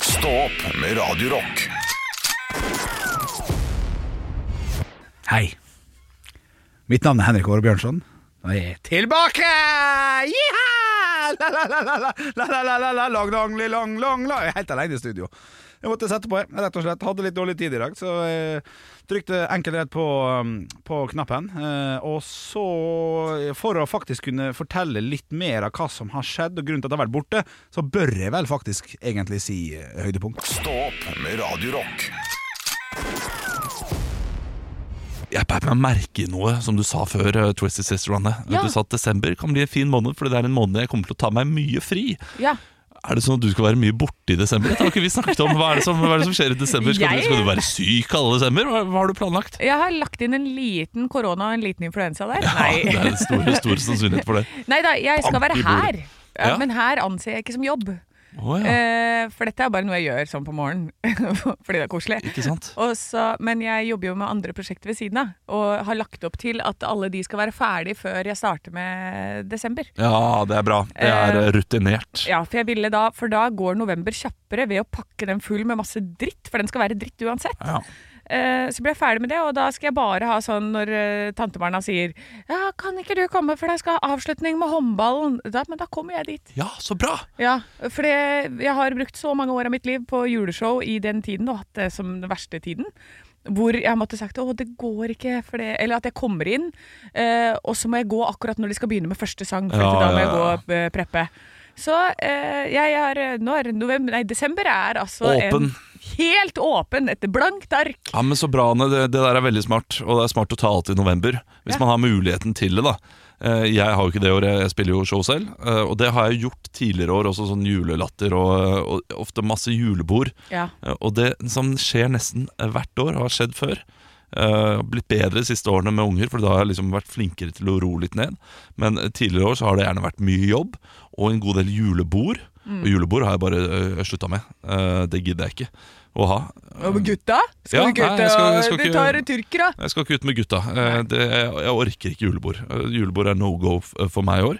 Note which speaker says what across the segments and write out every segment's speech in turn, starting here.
Speaker 1: Stå opp med Radio Rock.
Speaker 2: Hei. Mitt navn er Henrik Åre Bjørnson, og jeg er tilbake! Jiha! La, la, la, la, la, la, la, la, la, la, long, long, li, long, long, la. Jeg er helt alene i studio. Jeg måtte sette på, jeg rett og slett. Hadde litt dårlig tid i dag, så jeg trykte enkelt rett på, um, på knappen. Eh, Og så, for å faktisk kunne fortelle litt mer av hva som har skjedd, og grunnen til at jeg har vært borte, så bør jeg vel faktisk egentlig si eh, høydepunkt.
Speaker 1: Stå opp med Radio Rock.
Speaker 3: Jeg beit meg merke i noe som du sa før eh, Twisted Sister Anne.
Speaker 4: Ja.
Speaker 3: Du sa at desember kan bli en fin måned, Fordi det er en måned jeg kommer til å ta meg mye fri.
Speaker 4: Ja.
Speaker 3: Er det sånn at du skal være mye borte i desember? Dette har ikke vi snakket om. Hva er det som, hva er det som skjer i desember? Skal,
Speaker 4: Jeg- Eh,
Speaker 3: du, skal du være syk alle desember? Hva, hva har du planlagt?
Speaker 4: Jeg har lagt inn en liten korona og en liten influensa der.
Speaker 3: Ja, det
Speaker 4: Nei.
Speaker 3: er en stor, stor sannsynlighet for det.
Speaker 4: Nei da, jeg skal
Speaker 3: Bank
Speaker 4: være
Speaker 3: i
Speaker 4: her.
Speaker 3: bordet.
Speaker 4: Ja,
Speaker 3: Ja.
Speaker 4: Men her anser jeg ikke som jobb.
Speaker 3: Å ja,
Speaker 4: Eh, for dette er bare noe jeg gjør sånn på morgenen, fordi det er koselig.
Speaker 3: ikke sant?
Speaker 4: Og så, men jeg jobber jo med andre prosjekter ved siden av, og har lagt opp til at alle de skal være ferdig før jeg starter med desember.
Speaker 3: Ja, det er bra. Det er
Speaker 4: Eh,
Speaker 3: eh, rutinert.
Speaker 4: Ja, for jeg ville da, for da går november kjappere ved å pakke den full med masse dritt, for den skal være dritt uansett.
Speaker 3: Ja.
Speaker 4: Eh, Så blir jeg ferdig med det, og da skal jeg bare ha sånn når eh, tantebarna sier Ja, kan ikke du komme, for jeg skal ha avslutning med håndballen. Da, men da kommer jeg dit.
Speaker 3: ja, så bra!
Speaker 4: Ja, For det- jeg har brukt så mange år av mitt liv på juleshow i den tiden, og hatt det som den verste tiden. Hvor jeg måtte sagt å det går ikke, for det, eller at jeg kommer inn, eh, og så må jeg gå akkurat når de skal begynne med første sang. For
Speaker 3: Ja,
Speaker 4: da må jeg
Speaker 3: ja,
Speaker 4: gå
Speaker 3: ja.
Speaker 4: og eh, preppe. Så eh, jeg har eh, Nå er det november, nei, desember er altså
Speaker 3: Åpen.
Speaker 4: en helt åpen, et blankt ark.
Speaker 3: Ja, men så bra, Anne. Det, det der er veldig smart. Og det er smart å ta alt i november. Hvis
Speaker 4: Ja.
Speaker 3: man har muligheten til det, da. Eh, Jeg har jo ikke det året, jeg spiller jo show selv. eh, Og det har jeg gjort tidligere år, også sånn julelatter og, og ofte masse julebord.
Speaker 4: Ja.
Speaker 3: Eh, Og det som skjer nesten hvert år, og har skjedd før eh, blitt bedre de siste årene med unger, for da har jeg liksom vært flinkere til å roe litt ned. Men eh, tidligere år så har det gjerne vært mye jobb og en god del julebord. Og julebord har jeg bare slutta med. Eh, Det gidder jeg ikke å ha.
Speaker 4: Og med gutta? Skal
Speaker 3: Ja,
Speaker 4: du ikke
Speaker 3: nei,
Speaker 4: ut
Speaker 3: jeg skal- jeg skal
Speaker 4: og Du
Speaker 3: ikke-
Speaker 4: tar tyrker, da?
Speaker 3: Jeg skal ikke ut med gutta. Eh, Det, jeg, jeg orker ikke julebord. Eh, Julebord er no go f- for meg i år.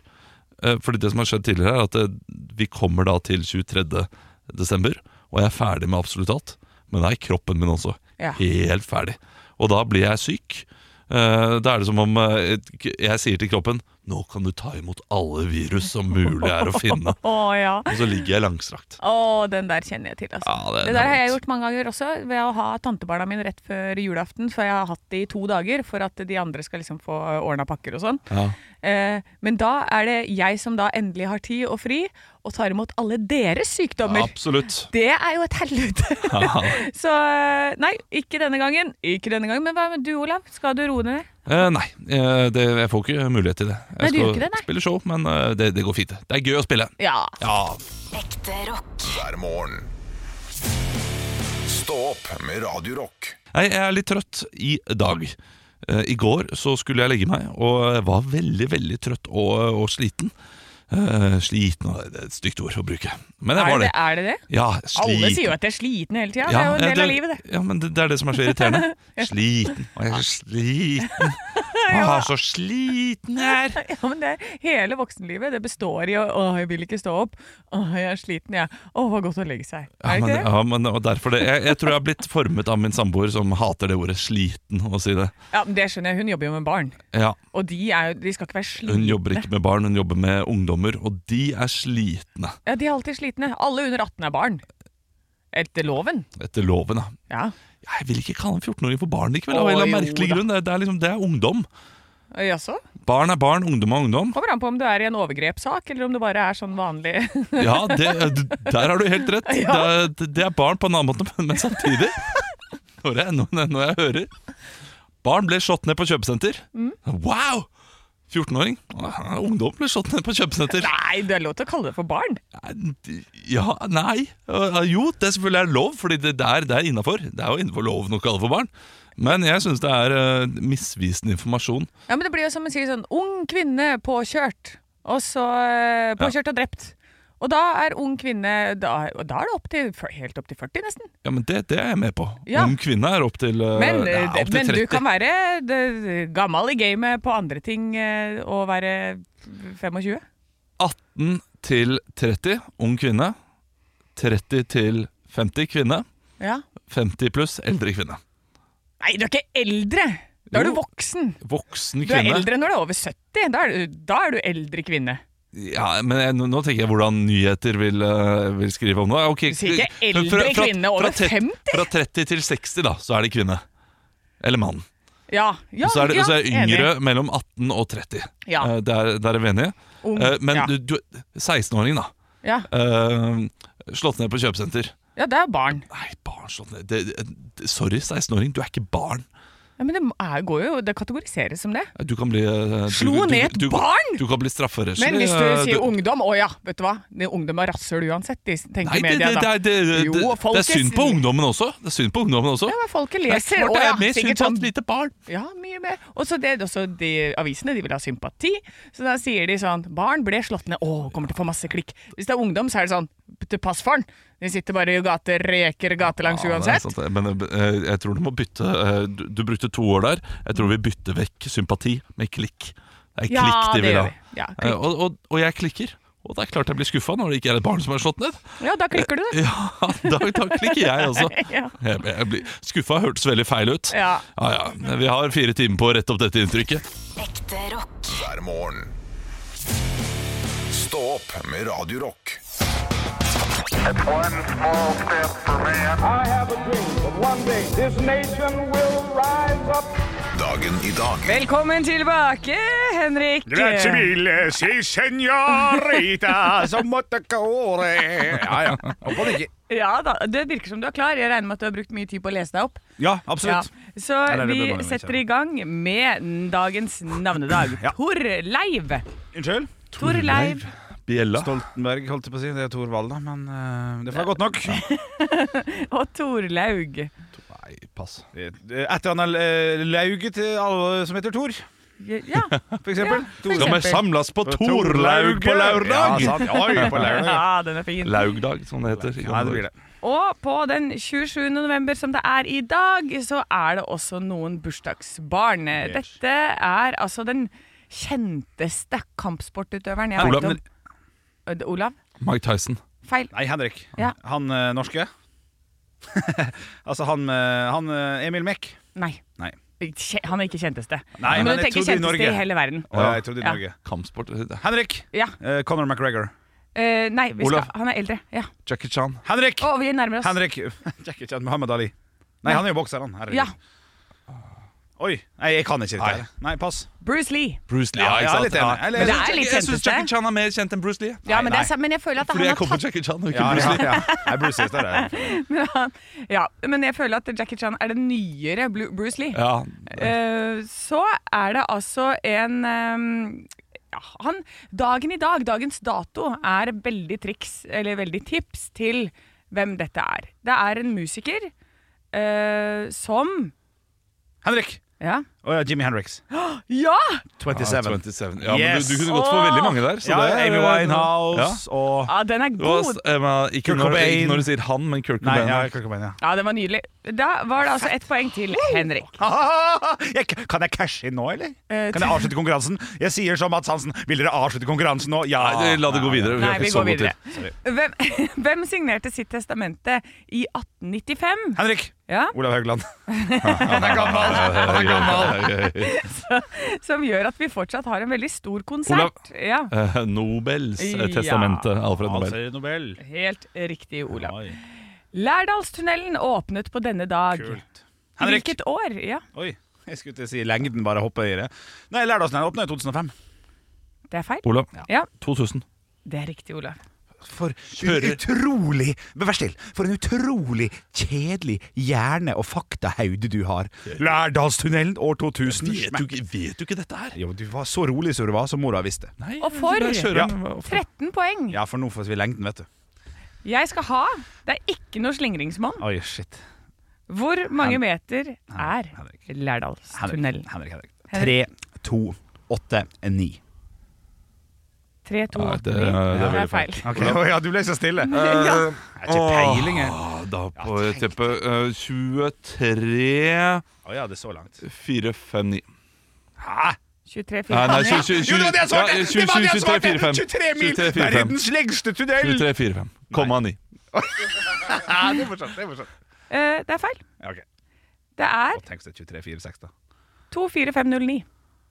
Speaker 3: Eh, Fordi det som har skjedd tidligere, er at eh, vi kommer da til 23. desember, og jeg er ferdig med absolutt alt. Men da er kroppen min også
Speaker 4: Ja.
Speaker 3: helt ferdig. Og da blir jeg syk. Eh, Da er det som om eh, jeg sier til kroppen Nå kan du ta imot alle virus som mulig er å finne.
Speaker 4: Å ja.
Speaker 3: Og så ligger jeg langstrakt.
Speaker 4: Å, den der kjenner jeg til, altså.
Speaker 3: Ja, det er
Speaker 4: det der har jeg
Speaker 3: vondt.
Speaker 4: gjort mange ganger også, ved å ha tantebarna mine rett før julaften. For jeg har hatt det i to dager, for at de andre skal liksom få ordna pakker og sånn.
Speaker 3: Ja.
Speaker 4: Eh, men da er det jeg som da endelig har tid og fri, og tar imot alle deres sykdommer.
Speaker 3: Absolutt.
Speaker 4: Det er jo et helvete!
Speaker 3: Ja.
Speaker 4: Så eh, nei, ikke denne gangen. Ikke denne gangen. Men hva med du, Olav? Skal du roe ned?
Speaker 3: Eh, nei, eh, det, jeg får ikke mulighet til det. Jeg
Speaker 4: Nei, du
Speaker 3: skal
Speaker 4: gjør ikke det, nei.
Speaker 3: spille show, men eh, det, det går fint. det. Det er gøy å spille.
Speaker 4: Ja.
Speaker 3: Ja,
Speaker 5: Ekte rock.
Speaker 1: Hver morgen. Stå opp med Radio Rock.
Speaker 3: Nei, jeg er litt trøtt i dag. Eh, I går så skulle jeg legge meg, og jeg var veldig, veldig trøtt og, og sliten. Eh, sliten og det er et stygt ord å bruke, men jeg
Speaker 4: Er
Speaker 3: var
Speaker 4: det,
Speaker 3: det.
Speaker 4: er det det?
Speaker 3: Ja,
Speaker 4: Alle
Speaker 3: sliten.
Speaker 4: sier jo at de er slitne hele tida. det er jo en
Speaker 3: eh,
Speaker 4: del av livet, det.
Speaker 3: Ja, men det, det er det som er så irriterende. Sliten. Å, jeg er så sliten. Å, så sliten jeg er.
Speaker 4: Ja, men det er Hele voksenlivet det består i å 'Å, jeg vil ikke stå opp'. 'Å, jeg er sliten, jeg'. 'Å, hva godt å legge seg'.
Speaker 3: Ja,
Speaker 4: Er det
Speaker 3: men,
Speaker 4: ikke det?
Speaker 3: ja, men og derfor det. Jeg, jeg tror jeg har blitt formet av min samboer som hater det ordet 'sliten' å si det.
Speaker 4: Ja, men Det skjønner jeg. Hun jobber jo med barn.
Speaker 3: Ja,
Speaker 4: Og de, er, jo- de skal ikke være
Speaker 3: Hun
Speaker 4: slitne.
Speaker 3: jobber ikke med barn, hun jobber med ungdommer, og de er slitne
Speaker 4: Ja, De er alltid slitne. Alle under 18 er barn. Etter loven.
Speaker 3: etter loven. Da.
Speaker 4: Ja.
Speaker 3: Jeg vil ikke kalle en 14-åring for barn likevel, av en
Speaker 4: Å,
Speaker 3: eller annen
Speaker 4: jo
Speaker 3: merkelig
Speaker 4: da.
Speaker 3: grunn. Det er, det, er liksom, det er ungdom.
Speaker 4: Jaså?
Speaker 3: Barn er barn, ungdom er ungdom.
Speaker 4: Kommer an på om du er i en overgrepssak, eller om du bare er sånn vanlig.
Speaker 3: Ja, det, Der har du helt rett. Det, er, det er barn på en annen måte, men, men samtidig når jeg, når, når jeg hører Barn ble slått ned på kjøpesenter.
Speaker 4: Mm.
Speaker 3: Wow! 14-åring. Ah, Ungdom ble slått ned på kjøpesenter.
Speaker 4: Nei, du er lov til å kalle det for barn.
Speaker 3: Ja, nei Eh, Jo, det er selvfølgelig er lov, fordi det der det er innafor. Det er jo innenfor loven å kalle for barn. Men jeg syns det er eh, misvisende informasjon.
Speaker 4: Ja, men Det blir jo som å si sånn Ung kvinne påkjørt. Og så eh, Påkjørt og drept. Og da er ung kvinne Da, og da er det opp til, helt opp til 40, nesten.
Speaker 3: Ja, men det, det er jeg med på.
Speaker 4: Ja.
Speaker 3: Ung kvinne er opp til, eh,
Speaker 4: Men,
Speaker 3: ja,
Speaker 4: eh,
Speaker 3: opp til
Speaker 4: men
Speaker 3: 30.
Speaker 4: du kan være eh, gammel i gamet på andre ting eh, og være 25.
Speaker 3: 18 til 30, ung kvinne. 30 til 50 kvinne,
Speaker 4: Ja.
Speaker 3: 50 pluss eldre kvinne.
Speaker 4: Nei, du er ikke eldre! Da er
Speaker 3: Jo.
Speaker 4: du voksen.
Speaker 3: Voksen
Speaker 4: Du er
Speaker 3: kvinne.
Speaker 4: eldre når du er over 70. Da er du, da er du eldre kvinne.
Speaker 3: Ja, men jeg, nå- nå tenker jeg hvordan nyheter vil, eh, vil skrive om det. Ok,
Speaker 4: Du sier ikke
Speaker 3: fra- fra-
Speaker 4: eldre kvinne over
Speaker 3: tret-
Speaker 4: 50?
Speaker 3: Fra 30 til 60, da, så er det kvinne. Eller mann.
Speaker 4: Ja, ja,
Speaker 3: så er det,
Speaker 4: ja,
Speaker 3: så er det yngre
Speaker 4: enig.
Speaker 3: mellom 18 og 30.
Speaker 4: Ja.
Speaker 3: Eh, Der, der er vi enige.
Speaker 4: Ung,
Speaker 3: Eh, Men
Speaker 4: ja.
Speaker 3: du, du 16-åring, da.
Speaker 4: Ja.
Speaker 3: Eh, slått ned på kjøpesenter.
Speaker 4: ja, det er barn.
Speaker 3: Nei, barn slått ned det, det, Sorry, 16-åring, du er ikke barn.
Speaker 4: Ja, men det, er, går jo, det kategoriseres som det.
Speaker 3: Du kan bli eh, du-
Speaker 4: Slo
Speaker 3: du-
Speaker 4: ned et
Speaker 3: du-
Speaker 4: barn?
Speaker 3: Du kan bli strafferettslig.
Speaker 4: Men hvis du
Speaker 3: eh,
Speaker 4: sier ungdom, å ja, vet du hva. Det er ungdom er rasshøl uansett, de tenker
Speaker 3: Nei, det, det,
Speaker 4: media
Speaker 3: det,
Speaker 4: da.
Speaker 3: er- det, det,
Speaker 4: Jo,
Speaker 3: det, det er
Speaker 4: folket
Speaker 3: synd på
Speaker 4: sier-
Speaker 3: ungdommen også. Det er synd på ungdommen også.
Speaker 4: Ja, men folket
Speaker 3: Det er
Speaker 4: leser.
Speaker 3: klart
Speaker 4: Å
Speaker 3: det
Speaker 4: ja,
Speaker 3: er mer synd
Speaker 4: sikkert
Speaker 3: på et
Speaker 4: sånn
Speaker 3: lite barn.
Speaker 4: Ja, mye mer. Og så det, også de avisene de vil ha sympati, så da sier de sånn Barn ble slått ned. Å, kommer til å få masse klikk. Hvis det er ungdom, så er det sånn til pass for den. De sitter bare i gater, reker gatelangs
Speaker 3: Ja, det er
Speaker 4: uansett.
Speaker 3: sant det. Men eh, jeg tror du må bytte eh, du, du brukte to år der. Jeg tror vi bytter vekk sympati med klikk. Det er
Speaker 4: Ja,
Speaker 3: klikk de
Speaker 4: det
Speaker 3: vil
Speaker 4: gjør
Speaker 3: ha.
Speaker 4: vi. Ja,
Speaker 3: Eh, og, og, og jeg klikker. Og det er klart jeg blir skuffa når det ikke er et barn som er slått ned.
Speaker 4: Ja, da klikker du det.
Speaker 3: Ja, da, da klikker jeg også.
Speaker 4: Ja.
Speaker 3: Jeg, jeg blir, skuffa hørtes veldig feil ut.
Speaker 4: Ja.
Speaker 3: ja ja. Vi har fire timer på å rette opp dette inntrykket.
Speaker 5: Ekte rock.
Speaker 1: hver morgen. Stå opp med Radio Rock.
Speaker 6: One small step for man.
Speaker 7: I have a dream that one day this nation will rise up.
Speaker 1: Dagen i
Speaker 3: eh.
Speaker 1: dag
Speaker 4: Velkommen tilbake, Henrik.
Speaker 2: mille, si senorita, som måtte kåre Ja, ja. Opp og nikke.
Speaker 4: Ja da, Det virker som du er klar. Jeg regner med at du har brukt mye tid på å lese deg opp.
Speaker 2: Ja,
Speaker 4: Ja.
Speaker 2: absolutt.
Speaker 4: Så
Speaker 2: Eller det
Speaker 4: vi
Speaker 2: bør man jo
Speaker 4: setter
Speaker 2: ikke.
Speaker 4: i gang med dagens navnedag.
Speaker 2: Ja.
Speaker 4: Torleiv.
Speaker 2: Unnskyld?
Speaker 4: Torleiv.
Speaker 3: Bjella.
Speaker 2: Stoltenberg, holdt jeg på å si. Det er Thor Wall, da. Men eh, det får være godt nok.
Speaker 4: og Torlaug.
Speaker 3: Nei, pass.
Speaker 2: Etter han er eh, lauget til alle som heter Thor,
Speaker 4: Ja.
Speaker 2: for eksempel.
Speaker 4: Ja, for
Speaker 2: Thor-
Speaker 4: eksempel.
Speaker 3: Skal vi samles på Torlaug på laurdag?
Speaker 2: Ja, sant. Oi, på laurdag.
Speaker 4: ja, den er fin.
Speaker 3: Laugdag, som det heter.
Speaker 2: Nei, det blir det.
Speaker 4: Og på den 27. november, som det er i dag, så er det også noen bursdagsbarn. Dette er altså den kjenteste kampsportutøveren jeg
Speaker 3: Olav,
Speaker 4: vet om.
Speaker 3: men-
Speaker 4: Ø, det- Olav?
Speaker 3: Mike Tyson.
Speaker 4: Feil.
Speaker 2: Nei, Henrik.
Speaker 4: Ja.
Speaker 2: Han eh, norske. altså han, eh, han eh, Emil Mek.
Speaker 4: Nei.
Speaker 2: Nei.
Speaker 4: Kje- Han er ikke kjenteste.
Speaker 2: Nei,
Speaker 4: men
Speaker 2: men
Speaker 4: du
Speaker 2: jeg
Speaker 4: tenker
Speaker 2: trodde i
Speaker 4: kjenteste
Speaker 2: Norge.
Speaker 4: i hele verden.
Speaker 2: Å,
Speaker 3: Ja.
Speaker 2: jeg trodde i
Speaker 4: Ja.
Speaker 2: Norge.
Speaker 3: Kampsport.
Speaker 2: Henrik!
Speaker 4: Ja.
Speaker 2: Eh, Conor McGregor.
Speaker 4: Eh, nei, vi skal,
Speaker 3: Olav.
Speaker 4: han er eldre. Ja.
Speaker 3: Jackie Chan.
Speaker 2: Henrik!
Speaker 4: Å, vi nærmer oss.
Speaker 2: Henrik Jackie Chan, Muhammad Ali. Nei, han er jo bokser, han. Herregud.
Speaker 4: Ja.
Speaker 2: Oi. Nei, jeg kan ikke dette. her. Nei, pass.
Speaker 4: Bruce Lee.
Speaker 3: Bruce Lee.
Speaker 2: Ja,
Speaker 3: ikke
Speaker 2: jeg er
Speaker 3: sant?
Speaker 2: litt enig.
Speaker 3: Ja.
Speaker 2: Eller-
Speaker 4: Men det
Speaker 2: jeg
Speaker 4: er litt
Speaker 3: Jeg syns Jackie
Speaker 4: kjenteste.
Speaker 3: Chan er mer kjent enn Bruce Lee.
Speaker 4: Ja, men, det
Speaker 2: nei.
Speaker 4: er, sant, men jeg føler at
Speaker 3: Fordi
Speaker 4: han
Speaker 3: jeg
Speaker 4: har
Speaker 3: kom på
Speaker 4: tatt
Speaker 3: Jackie Chan og ikke
Speaker 2: Ja,
Speaker 3: Bruce
Speaker 2: ja,
Speaker 3: Lee.
Speaker 2: ja. Nei, Bruce Lee står der.
Speaker 4: Ja, men jeg føler at Jackie Chan er den nyere Blu- Bruce Lee.
Speaker 3: Ja.
Speaker 4: Eh, så er det altså en ehm, ja, han, Dagen i dag, dagens dato, er veldig triks, eller veldig tips til hvem dette er. Det er en musiker eh, som
Speaker 2: Henrik!
Speaker 4: Ja!
Speaker 2: Å ja, Jimmy Henriks.
Speaker 4: ja!
Speaker 2: 27.
Speaker 3: 27. Ja, men
Speaker 2: Yes.
Speaker 3: du, du kunne gått for veldig mange der. Så
Speaker 2: ja,
Speaker 3: det er-
Speaker 2: Amy Winehouse og
Speaker 4: ja den er
Speaker 3: Ja. Og,
Speaker 4: god.
Speaker 3: Emma, ikke,
Speaker 2: Kurt
Speaker 3: når,
Speaker 2: Cobain.
Speaker 3: ikke når du sier han, men Kurt
Speaker 2: Nei,
Speaker 3: Cobain.
Speaker 2: ja, Kurt Cobain, ja.
Speaker 4: Ja, den var nydelig. Da var det altså ett poeng til Henrik.
Speaker 2: Jeg, kan jeg cashe inn nå, eller?
Speaker 4: Eh,
Speaker 2: Kan jeg avslutte konkurransen? Jeg sier som Mads Hansen. Vil dere avslutte konkurransen nå? Ja.
Speaker 3: Nei, la det gå videre.
Speaker 4: Nei,
Speaker 3: har
Speaker 4: vi
Speaker 3: ikke så god
Speaker 4: går
Speaker 3: tid.
Speaker 4: videre. Hvem, hvem signerte sitt testamente i 1895?
Speaker 2: Henrik.
Speaker 4: Ja,
Speaker 2: Olav Haugland.
Speaker 3: Han er gammel! Han er
Speaker 4: som gjør at vi fortsatt har en veldig stor konsert. Ja,
Speaker 3: Nobels eh,
Speaker 4: Ja.
Speaker 3: testamente. Alfred Nobel.
Speaker 2: Nobel.
Speaker 4: Helt riktig, Olav.
Speaker 2: Oi.
Speaker 4: Lærdalstunnelen åpnet på denne dag.
Speaker 2: Kult.
Speaker 4: I
Speaker 2: Henrik.
Speaker 4: Hvilket år? Ja,
Speaker 2: Oi. Jeg skulle til å si lengden, bare hoppe i det. Nei, Lærdalsnæren åpna i 2005.
Speaker 4: det er feil.
Speaker 3: Olav.
Speaker 4: Ja,
Speaker 3: 2000.
Speaker 4: det er riktig, Olav.
Speaker 2: For utrolig Vær still. For en utrolig kjedelig hjerne- og faktahaude du har. Lærdalstunnelen år 2000.
Speaker 3: Vet du, ikke- vet du ikke dette her?
Speaker 2: Jo, du var så rolig som du var, som mora visste.
Speaker 3: Nei,
Speaker 4: Og for-
Speaker 3: jeg kjører
Speaker 2: Ja.
Speaker 3: den. Og for-
Speaker 4: 13 poeng.
Speaker 2: Ja, for nå får vi lengden, vet du.
Speaker 4: Jeg skal ha Det er ikke noe slingringsmonn.
Speaker 2: Oi, shit.
Speaker 4: Hvor mange meter er
Speaker 2: Henrik.
Speaker 4: Lærdalstunnelen?
Speaker 2: Henrik, Henrik. Tre, to, åtte, ni.
Speaker 4: 3, 2,
Speaker 3: Nei,
Speaker 4: 8,
Speaker 3: det-
Speaker 4: 9.
Speaker 3: det
Speaker 4: Det
Speaker 3: blir
Speaker 4: er feil.
Speaker 2: ja, du ble så stille.
Speaker 3: Eh,
Speaker 2: Jeg har ikke
Speaker 3: Åh,
Speaker 2: peiling, jeg.
Speaker 3: Da på teppet eh, 23
Speaker 2: Å ja, det er så langt.
Speaker 3: 4, 5, 9
Speaker 2: Hæ?
Speaker 4: 23, 4,
Speaker 3: Nei, nei,
Speaker 4: faen, ja.
Speaker 3: 20, 20,
Speaker 2: Jo, det var det jeg svarte! det
Speaker 3: ja,
Speaker 2: var det jeg
Speaker 3: 23,
Speaker 2: svarte!
Speaker 3: 45.
Speaker 2: 23 mil!
Speaker 3: 23, 45.
Speaker 2: Verdens lengste tunnel!
Speaker 3: 23, 4, 5. Komma 9.
Speaker 2: Ja, det er morsomt. Det er morsomt.
Speaker 4: Eh, det er feil.
Speaker 2: Ja, ok.
Speaker 4: Det er
Speaker 2: Og tenk deg 23, 4, 6, da.
Speaker 4: 24509.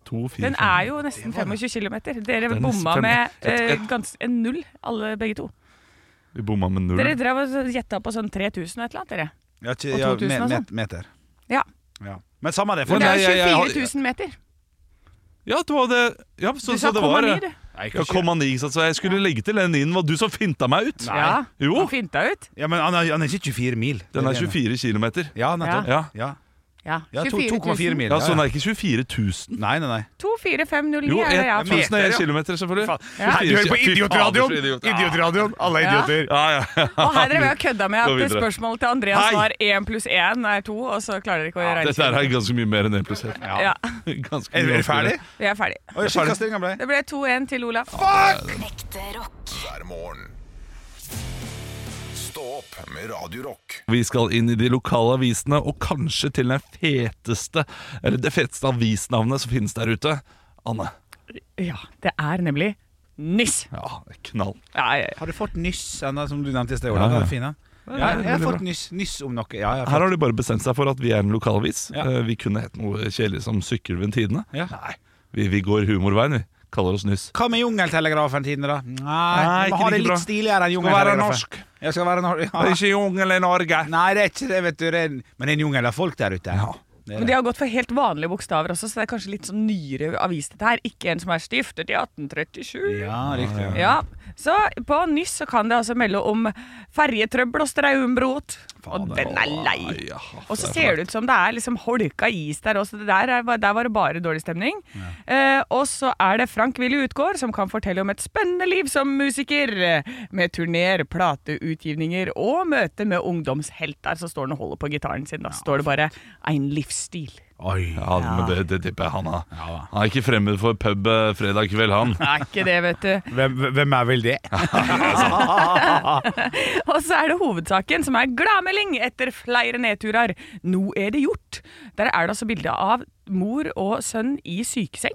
Speaker 3: 2, 4,
Speaker 4: Den er jo nesten 25 km. Dere
Speaker 3: Den er
Speaker 4: bomma
Speaker 3: fem-
Speaker 4: med
Speaker 3: Et-
Speaker 4: eh,
Speaker 3: et-
Speaker 4: gans, en null, alle begge to.
Speaker 3: Vi bomma med null.
Speaker 4: Dere drev og gjetta på sånn 3000 og et eller annet, dere.
Speaker 2: Ja, ikke,
Speaker 4: Og
Speaker 2: ja,
Speaker 4: 2000
Speaker 2: me-
Speaker 4: og
Speaker 2: me- meter.
Speaker 4: Ja.
Speaker 2: ja. Men samme det.
Speaker 3: Men
Speaker 2: For
Speaker 4: Det
Speaker 2: det
Speaker 3: nei,
Speaker 4: er
Speaker 3: jeg- jeg har-
Speaker 4: 24 000 meter.
Speaker 3: Ja, det var det Ja, så,
Speaker 4: Du
Speaker 3: så
Speaker 4: sa
Speaker 3: det var eh,
Speaker 4: 0,9, du.
Speaker 3: Ja, komma 9, så jeg skulle legge til den inn. Var du som finta meg ut?
Speaker 2: Nei.
Speaker 4: Ja,
Speaker 3: Jo.
Speaker 4: han finta ut.
Speaker 2: ja, men han er, han er ikke 24 mil.
Speaker 3: Den er
Speaker 2: Det det
Speaker 3: 24 km.
Speaker 2: ene. Ja, nettopp.
Speaker 3: Ja.
Speaker 2: Ja.
Speaker 4: Ja,
Speaker 2: Ja, to-
Speaker 4: 24
Speaker 2: 2,4
Speaker 4: 000.
Speaker 2: mil.
Speaker 3: Ja, så den
Speaker 2: nei.
Speaker 3: er ikke 24 000.
Speaker 2: nei, nei, nei.
Speaker 4: To, fire, fem, null,
Speaker 3: Jo,
Speaker 4: ni er det jeg har fått.
Speaker 3: 1000 er
Speaker 2: meter, ja.
Speaker 3: km, selvfølgelig.
Speaker 2: Faen. Nei, du hører på
Speaker 3: Fy fader,
Speaker 2: Idiotradioen!
Speaker 3: for idiot.
Speaker 2: Idiotradioen, Alle
Speaker 4: Ja.
Speaker 2: idioter.
Speaker 3: Ja, ja, ja.
Speaker 4: Og her drev jeg og kødda med
Speaker 3: Gå
Speaker 4: at
Speaker 3: videre.
Speaker 4: spørsmålet til Andreas
Speaker 3: Hei.
Speaker 4: var 1 pluss 1 er 2, og så klarer dere ikke å regne.
Speaker 3: Dette her er ganske mye mer enn 1 pluss 1.
Speaker 4: Ja,
Speaker 3: Ganske
Speaker 2: Er vi
Speaker 3: mye
Speaker 2: ferdig?
Speaker 4: vi er ferdig.
Speaker 2: Oi, shit, hva stillinga ble?
Speaker 4: Det ble 2-1 til Olaf.
Speaker 5: Ekte rock.
Speaker 1: hver morgen. Stå opp med Radio Rock.
Speaker 3: Vi skal inn i de lokale avisene, og kanskje til den feteste, eller det feteste avisnavnet som finnes der ute. Anne.
Speaker 4: Ja, det er nemlig Nyss.
Speaker 3: Ja, knall.
Speaker 4: Ja, ja, ja.
Speaker 2: Har du fått nyss ennå, som du nevnte i sted? Ola?
Speaker 3: Ja, ja.
Speaker 2: Det er fin, ja. Ja, jeg har
Speaker 3: veldig
Speaker 2: fått nyss, nyss om noe. Ja, jeg har
Speaker 3: Her
Speaker 2: fått.
Speaker 3: har de bare bestemt seg for at vi er en lokalavis.
Speaker 2: Ja.
Speaker 3: Eh, Vi kunne hett noe kjedelig som Sykkylven Tidene.
Speaker 2: Ja.
Speaker 3: Nei, vi, vi går humorveien, vi. Kaller oss Nyss.
Speaker 2: Hva med Jungeltelegrafen tidene, da? Nei,
Speaker 3: Nei,
Speaker 2: vi må
Speaker 3: ikke
Speaker 2: ha det litt
Speaker 3: like bra.
Speaker 2: stiligere enn
Speaker 3: Skal være
Speaker 2: Jungeltelegrafen.
Speaker 3: norsk.
Speaker 2: Ja, skal være norsk. Ja.
Speaker 3: ikke jungel i Norge.
Speaker 2: Nei, det er ikke det, vet du. Det er, men det er en jungel av folk der ute.
Speaker 3: Ja.
Speaker 2: Det er
Speaker 4: Men de
Speaker 2: det.
Speaker 4: har gått for helt vanlige bokstaver også, så det er kanskje litt sånn nyere avis dette her. Ikke en som er stiftet i 1837.
Speaker 2: ja, riktig. Ja.
Speaker 4: Ja, så på Nyss så kan det altså melde om ferjetrøbbel og straumbrot. Og den er lei.
Speaker 3: Ja,
Speaker 4: Og så ser det ut som det er liksom holka is der også. Det Der, er, der var det bare dårlig stemning. Eh, og så er det Frank Willy Utgård som kan fortelle om et spennende liv som musiker. eh, Med turneer, plateutgivninger og møte med ungdomshelter. Så står han og holder på gitaren sin. Da står det bare 'Ein livsstil'.
Speaker 2: Oi.
Speaker 3: Ja, men det, det tipper jeg han har.
Speaker 2: Ja, da.
Speaker 3: Han er ikke fremmed for pub eh, fredag kveld, han.
Speaker 4: Er ikke det, vet du.
Speaker 2: Hvem, hvem er vel det?
Speaker 4: Og så er det hovedsaken, som er gladmelding etter flere nedturer. Nå er det gjort. Der er det altså bilde av mor og sønn i sykeseng.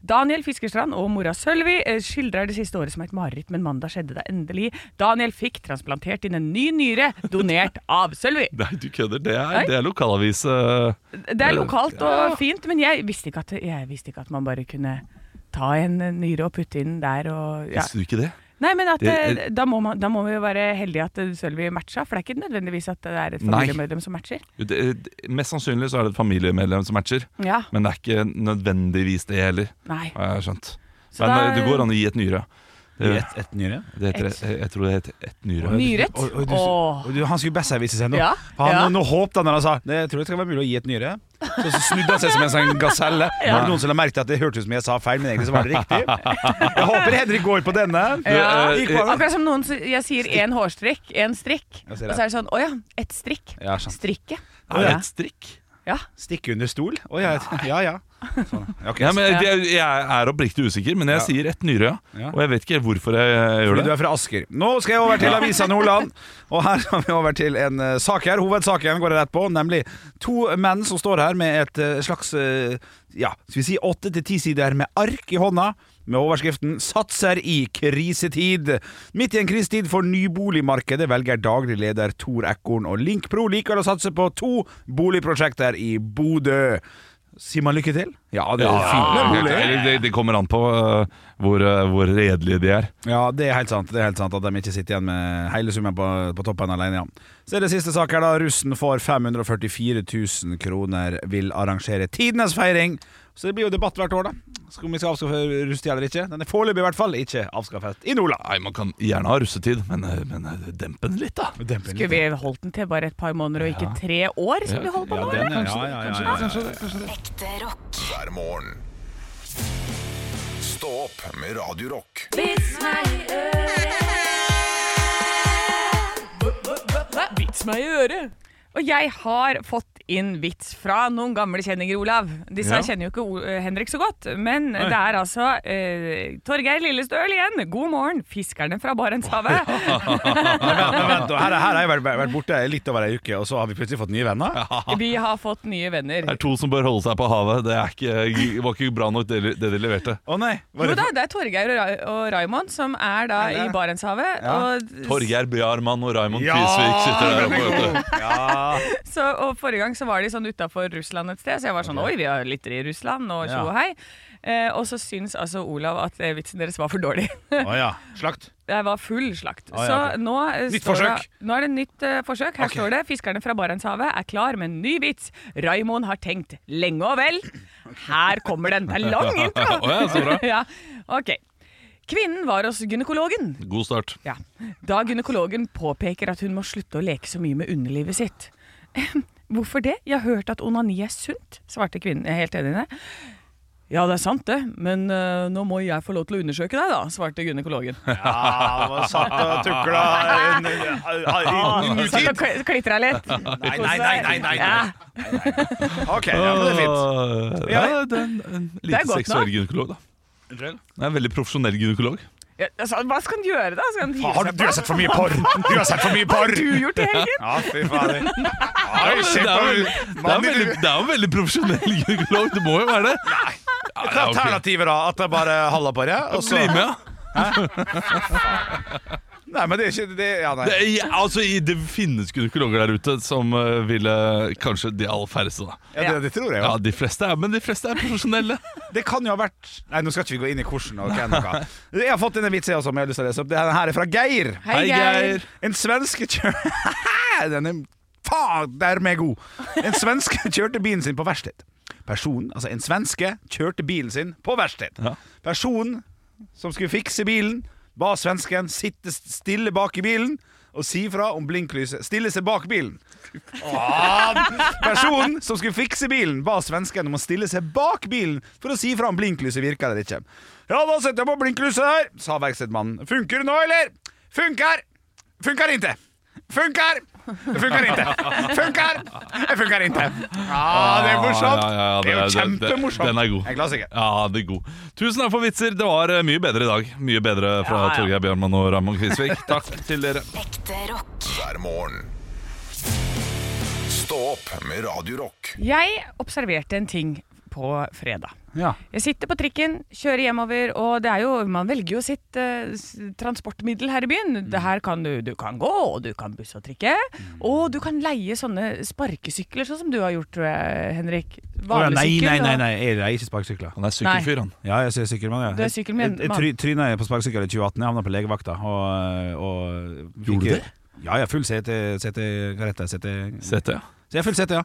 Speaker 4: Daniel Fiskerstrand og mora Sølvi eh, skildrer det siste året som et mareritt, men mandag skjedde det endelig. Daniel fikk transplantert inn en ny nyre, donert av Sølvi.
Speaker 3: Nei, du kødder. Det
Speaker 4: Nei.
Speaker 3: er, det er lokalavis. eh,
Speaker 4: Det er lokalt og fint, men jeg visste ikke at, jeg visste ikke at man bare kunne ta en nyre og putte inn der og ja.
Speaker 3: Visste du ikke det?
Speaker 4: Nei, men at,
Speaker 3: Det
Speaker 4: eh,
Speaker 3: er-
Speaker 4: da, må man, da må vi jo være heldige at eh, Sølvi matcha, for det er ikke nødvendigvis at eh, det er et
Speaker 3: Nei.
Speaker 4: familiemedlem som matcher.
Speaker 3: Jo, det det- mest sannsynlig så er det et familiemedlem som matcher,
Speaker 4: Ja,
Speaker 3: men det er ikke nødvendigvis det heller,
Speaker 4: nei.
Speaker 3: har jeg skjønt.
Speaker 4: Så
Speaker 3: Men
Speaker 4: da-
Speaker 3: eh, det går an å gi et nyre. Det,
Speaker 2: Et, et nyre?
Speaker 3: det heter,
Speaker 4: Et.
Speaker 3: jeg, jeg tror det heter et nyre.
Speaker 4: Nyrett?
Speaker 2: Og, og du,
Speaker 4: Åh.
Speaker 2: og du, han skulle besservise seg nå.
Speaker 4: Ja,
Speaker 2: For han,
Speaker 4: ja.
Speaker 2: Nå håpte han når han sa det jeg tror det skal være mulig å gi et nyre. Så, så snudde han seg som en sånn gaselle. Var det noen som la merke til at det hørtes ut som jeg sa feil, men egentlig så var det riktig? Jeg håper Henrik går på denne.
Speaker 4: Ja.
Speaker 2: Gikk på den.
Speaker 4: Akkurat som noen s- jeg sier én hårstrikk, én strikk,
Speaker 2: Jeg
Speaker 4: og
Speaker 2: ser
Speaker 4: så er det sånn å ja, ett strikk.
Speaker 2: Ja, sånn. sant.
Speaker 4: Strikke.
Speaker 3: Er det
Speaker 4: Ja.
Speaker 3: et strikk?
Speaker 4: Ja.
Speaker 2: Stikke under stol? Å ja, ja. ja. Sånn. Ja, ok.
Speaker 3: Ja, men
Speaker 4: Ja.
Speaker 3: jeg, jeg er oppriktig usikker, men jeg
Speaker 2: Ja.
Speaker 3: sier et nyre,
Speaker 2: Ja.
Speaker 3: ja. Og jeg vet ikke hvorfor jeg eh, gjør
Speaker 2: Fordi du
Speaker 3: det.
Speaker 2: er fra Asker. Nå skal jeg over til Avisa Nordland. Og her har vi over til en eh, sak her. Hovedsaken går jeg rett på, nemlig to menn som står her med et eh, slags eh, Ja, skal vi si åtte til ti sider med ark i hånda. Med overskriften 'Satser i krisetid'. Midt i en krisetid for nyboligmarkedet velger daglig leder Tor Ekorn og Link Pro likevel å satse på to boligprosjekter i Bodø. Sier man lykke til? Ja, det er fine boliger.
Speaker 3: det, Ah, det, det kommer an på eh, hvor, eh, hvor redelige de er.
Speaker 2: Ja, det er helt sant. Det er helt sant At de ikke sitter igjen med hele summen på, på toppen alene. Ja. Så er det siste sak her, da. Russen får 544 000 kroner, vil arrangere tidenes feiring. Så det blir jo debatt hvert år, da. Så om vi skal avskaffe russetida eller ikke. Den er foreløpig i hvert fall ikke avskaffet i Nordland.
Speaker 3: Nei, Man kan gjerne ha russetid, men, eh, men eh, demp den litt, da.
Speaker 2: Demper
Speaker 4: Skulle vi holdt den til bare et par måneder og ikke tre år, som vi holder på
Speaker 2: Ja,
Speaker 4: nå?
Speaker 2: den
Speaker 4: eller?
Speaker 2: er, ja, ja, ja, ja, ja.
Speaker 5: Ekte rock.
Speaker 1: hver morgen. Stå opp med Radio Rock.
Speaker 4: Vits meg i øret! Og jeg har fått inn vits fra noen gamle kjenninger, Olav. Disse
Speaker 3: Ja.
Speaker 4: kjenner jo ikke O- eh, Henrik så godt, men det er altså eh, Torgeir Lillestøl igjen. God morgen, fiskerne fra Barentshavet.
Speaker 2: Men vent, nå, her, her har jeg vært, vært borte litt over ei uke, og så har vi plutselig fått nye venner.
Speaker 4: Vi har fått nye venner.
Speaker 3: Det er to som bør holde seg på havet. Det er ikke, var ikke bra nok, det, det de leverte.
Speaker 2: Å nei, var
Speaker 4: Jo
Speaker 2: det-
Speaker 4: da, det er Torgeir og, Ra- og Raymond som er da i Barentshavet. og-
Speaker 3: Torgeir Bjarmann og Raymond
Speaker 2: Ja,
Speaker 3: Kvisvik sitter der
Speaker 2: den er
Speaker 3: oppe. vet du.
Speaker 4: Så, og Forrige gang så var de sånn utafor Russland et sted, så jeg var sånn Oi, vi har lyttere i Russland, og tjo
Speaker 2: Ja.
Speaker 4: og hei. Eh, og så syns altså Olav at eh, vitsen deres var for dårlig.
Speaker 2: Å ja. Slakt.
Speaker 4: Jeg var full slakt.
Speaker 2: Ah, ja,
Speaker 4: så
Speaker 2: ok.
Speaker 4: nå, eh,
Speaker 2: Nytt
Speaker 4: står
Speaker 2: forsøk.
Speaker 4: Det, nå er det nytt eh, forsøk. Her
Speaker 2: Ok.
Speaker 4: står det 'Fiskerne fra Barentshavet er klar med en ny vits'. Raymond har tenkt lenge og vel. Her kommer den. Det er lang intro!
Speaker 3: Å ja, så bra.
Speaker 4: Ja. Ok. Kvinnen var hos gynekologen.
Speaker 3: God start.
Speaker 4: Ja. Da gynekologen påpeker at hun må slutte å leke så mye med underlivet sitt. Hvorfor det? Jeg har hørt at onani er sunt, svarte kvinnen. Jeg er helt enig i det. Ja, det er sant det, men eh, nå må jeg få lov til å undersøke deg, da, svarte gynekologen.
Speaker 2: Ja, var satt Ah, og tukla en- i en
Speaker 4: Satt
Speaker 2: utid.
Speaker 4: og kl- klitra litt.
Speaker 2: Nei, nei, nei, nei, nei.
Speaker 4: Ja,
Speaker 2: Ok, ja, men det er fint.
Speaker 3: Åh, Ja, det er en, en
Speaker 4: Det er
Speaker 3: lite
Speaker 4: godt
Speaker 3: seksuell
Speaker 4: nok.
Speaker 3: gynekolog, da. Det er en veldig profesjonell gynekolog.
Speaker 4: ja, altså, hva skal han gjøre, da? Skal han hive
Speaker 2: Ah, Har du,
Speaker 4: seg
Speaker 2: du har
Speaker 4: på?
Speaker 2: sett for mye porr! Du har sett for mye porr!
Speaker 4: Du gjort i helgen?
Speaker 2: Ja, fy fader. Oi,
Speaker 3: Det
Speaker 2: se
Speaker 3: er
Speaker 2: på
Speaker 3: vel- det er
Speaker 2: mannen i
Speaker 3: veldig- det er jo en veldig profesjonell gynekolog. Det må jo være det. Ja,
Speaker 2: Hva er
Speaker 3: det er ok.
Speaker 2: alternativet, da? At det er bare halva på det? Og så
Speaker 3: Bli med, ja.
Speaker 2: Nei, men det er ikke det, ja, nei.
Speaker 3: Det, er- ja, altså, i- det finnes gynekologer der ute som eh, ville Kanskje de aller færreste, da.
Speaker 2: Ja, det, det tror jeg
Speaker 3: Ja,
Speaker 2: jo.
Speaker 3: de fleste er, men de fleste er profesjonelle.
Speaker 2: Det kan jo ha vært Nei, nå skal ikke vi gå inn i hvordan og hvem og hva. Jeg har fått en vits jeg også, men jeg har lyst til å lese opp. Denne her er fra Geir.
Speaker 4: Hei, Geir.
Speaker 2: En svenske kjørte Den er faen, der med god En svenske kjørte bilen sin på verksted Personen, altså en svenske kjørte bilen sin på verksted
Speaker 3: Ja.
Speaker 2: Personen som skulle fikse bilen Ba svensken sitte stille bak i bilen Og si fra om blinklyset Stille seg bak bilen Åh, Personen som skulle fikse bilen Ba svensken om å stille seg bak bilen For å si fra om blinklyset virker eller ikke Ja, da setter jeg på blinklyset her Sa verkstedmannen Funker det nå, eller? Funker! Funkar inte! Funkar! Funkar inte! Funkar! Funkar inte! Ja, det er morsomt!
Speaker 3: Ja, ja, ja,
Speaker 2: det, er jo
Speaker 3: det- det-
Speaker 2: kjempemorsomt.
Speaker 3: den er god.
Speaker 2: En klassiker.
Speaker 3: Ja, det er god. Tusen takk for vitser. Det var eh, mye bedre i dag. Mye bedre fra
Speaker 4: Ja, ja.
Speaker 3: Torgeir Bjørnmann og Ramón Kvisvik. Takk til dere.
Speaker 5: Ekte rock.
Speaker 1: hver morgen. Stå opp med Radio Rock.
Speaker 4: Jeg observerte en ting på fredag.
Speaker 2: Ja.
Speaker 4: Jeg sitter på trikken, kjører hjemover, og det er jo, man velger jo sitt eh, s- transportmiddel her i byen.
Speaker 2: Mm.
Speaker 4: Det her kan du, du kan gå, og du kan buss og trikke, og du kan leie sånne sparkesykler, sånn som du har gjort, tror jeg, Henrik. Vanlig
Speaker 2: nei,
Speaker 4: sykkel,
Speaker 2: nei, nei,
Speaker 4: og-
Speaker 2: nei, jeg er ikke sparkesykler.
Speaker 3: Han er sykkelfyr, han.
Speaker 2: Ja, jeg ser sykkelmann. Ja.
Speaker 4: Du er sykkelmann.
Speaker 2: Jeg, jeg, try, tryna på sparkesykkel i 2018. Jeg havna på legevakta. Og, og
Speaker 3: Gjorde du det?
Speaker 2: Ja, jeg er full CT, CT Hva heter det? CT
Speaker 3: Sete, ja.
Speaker 2: Så jeg er full CT, ja.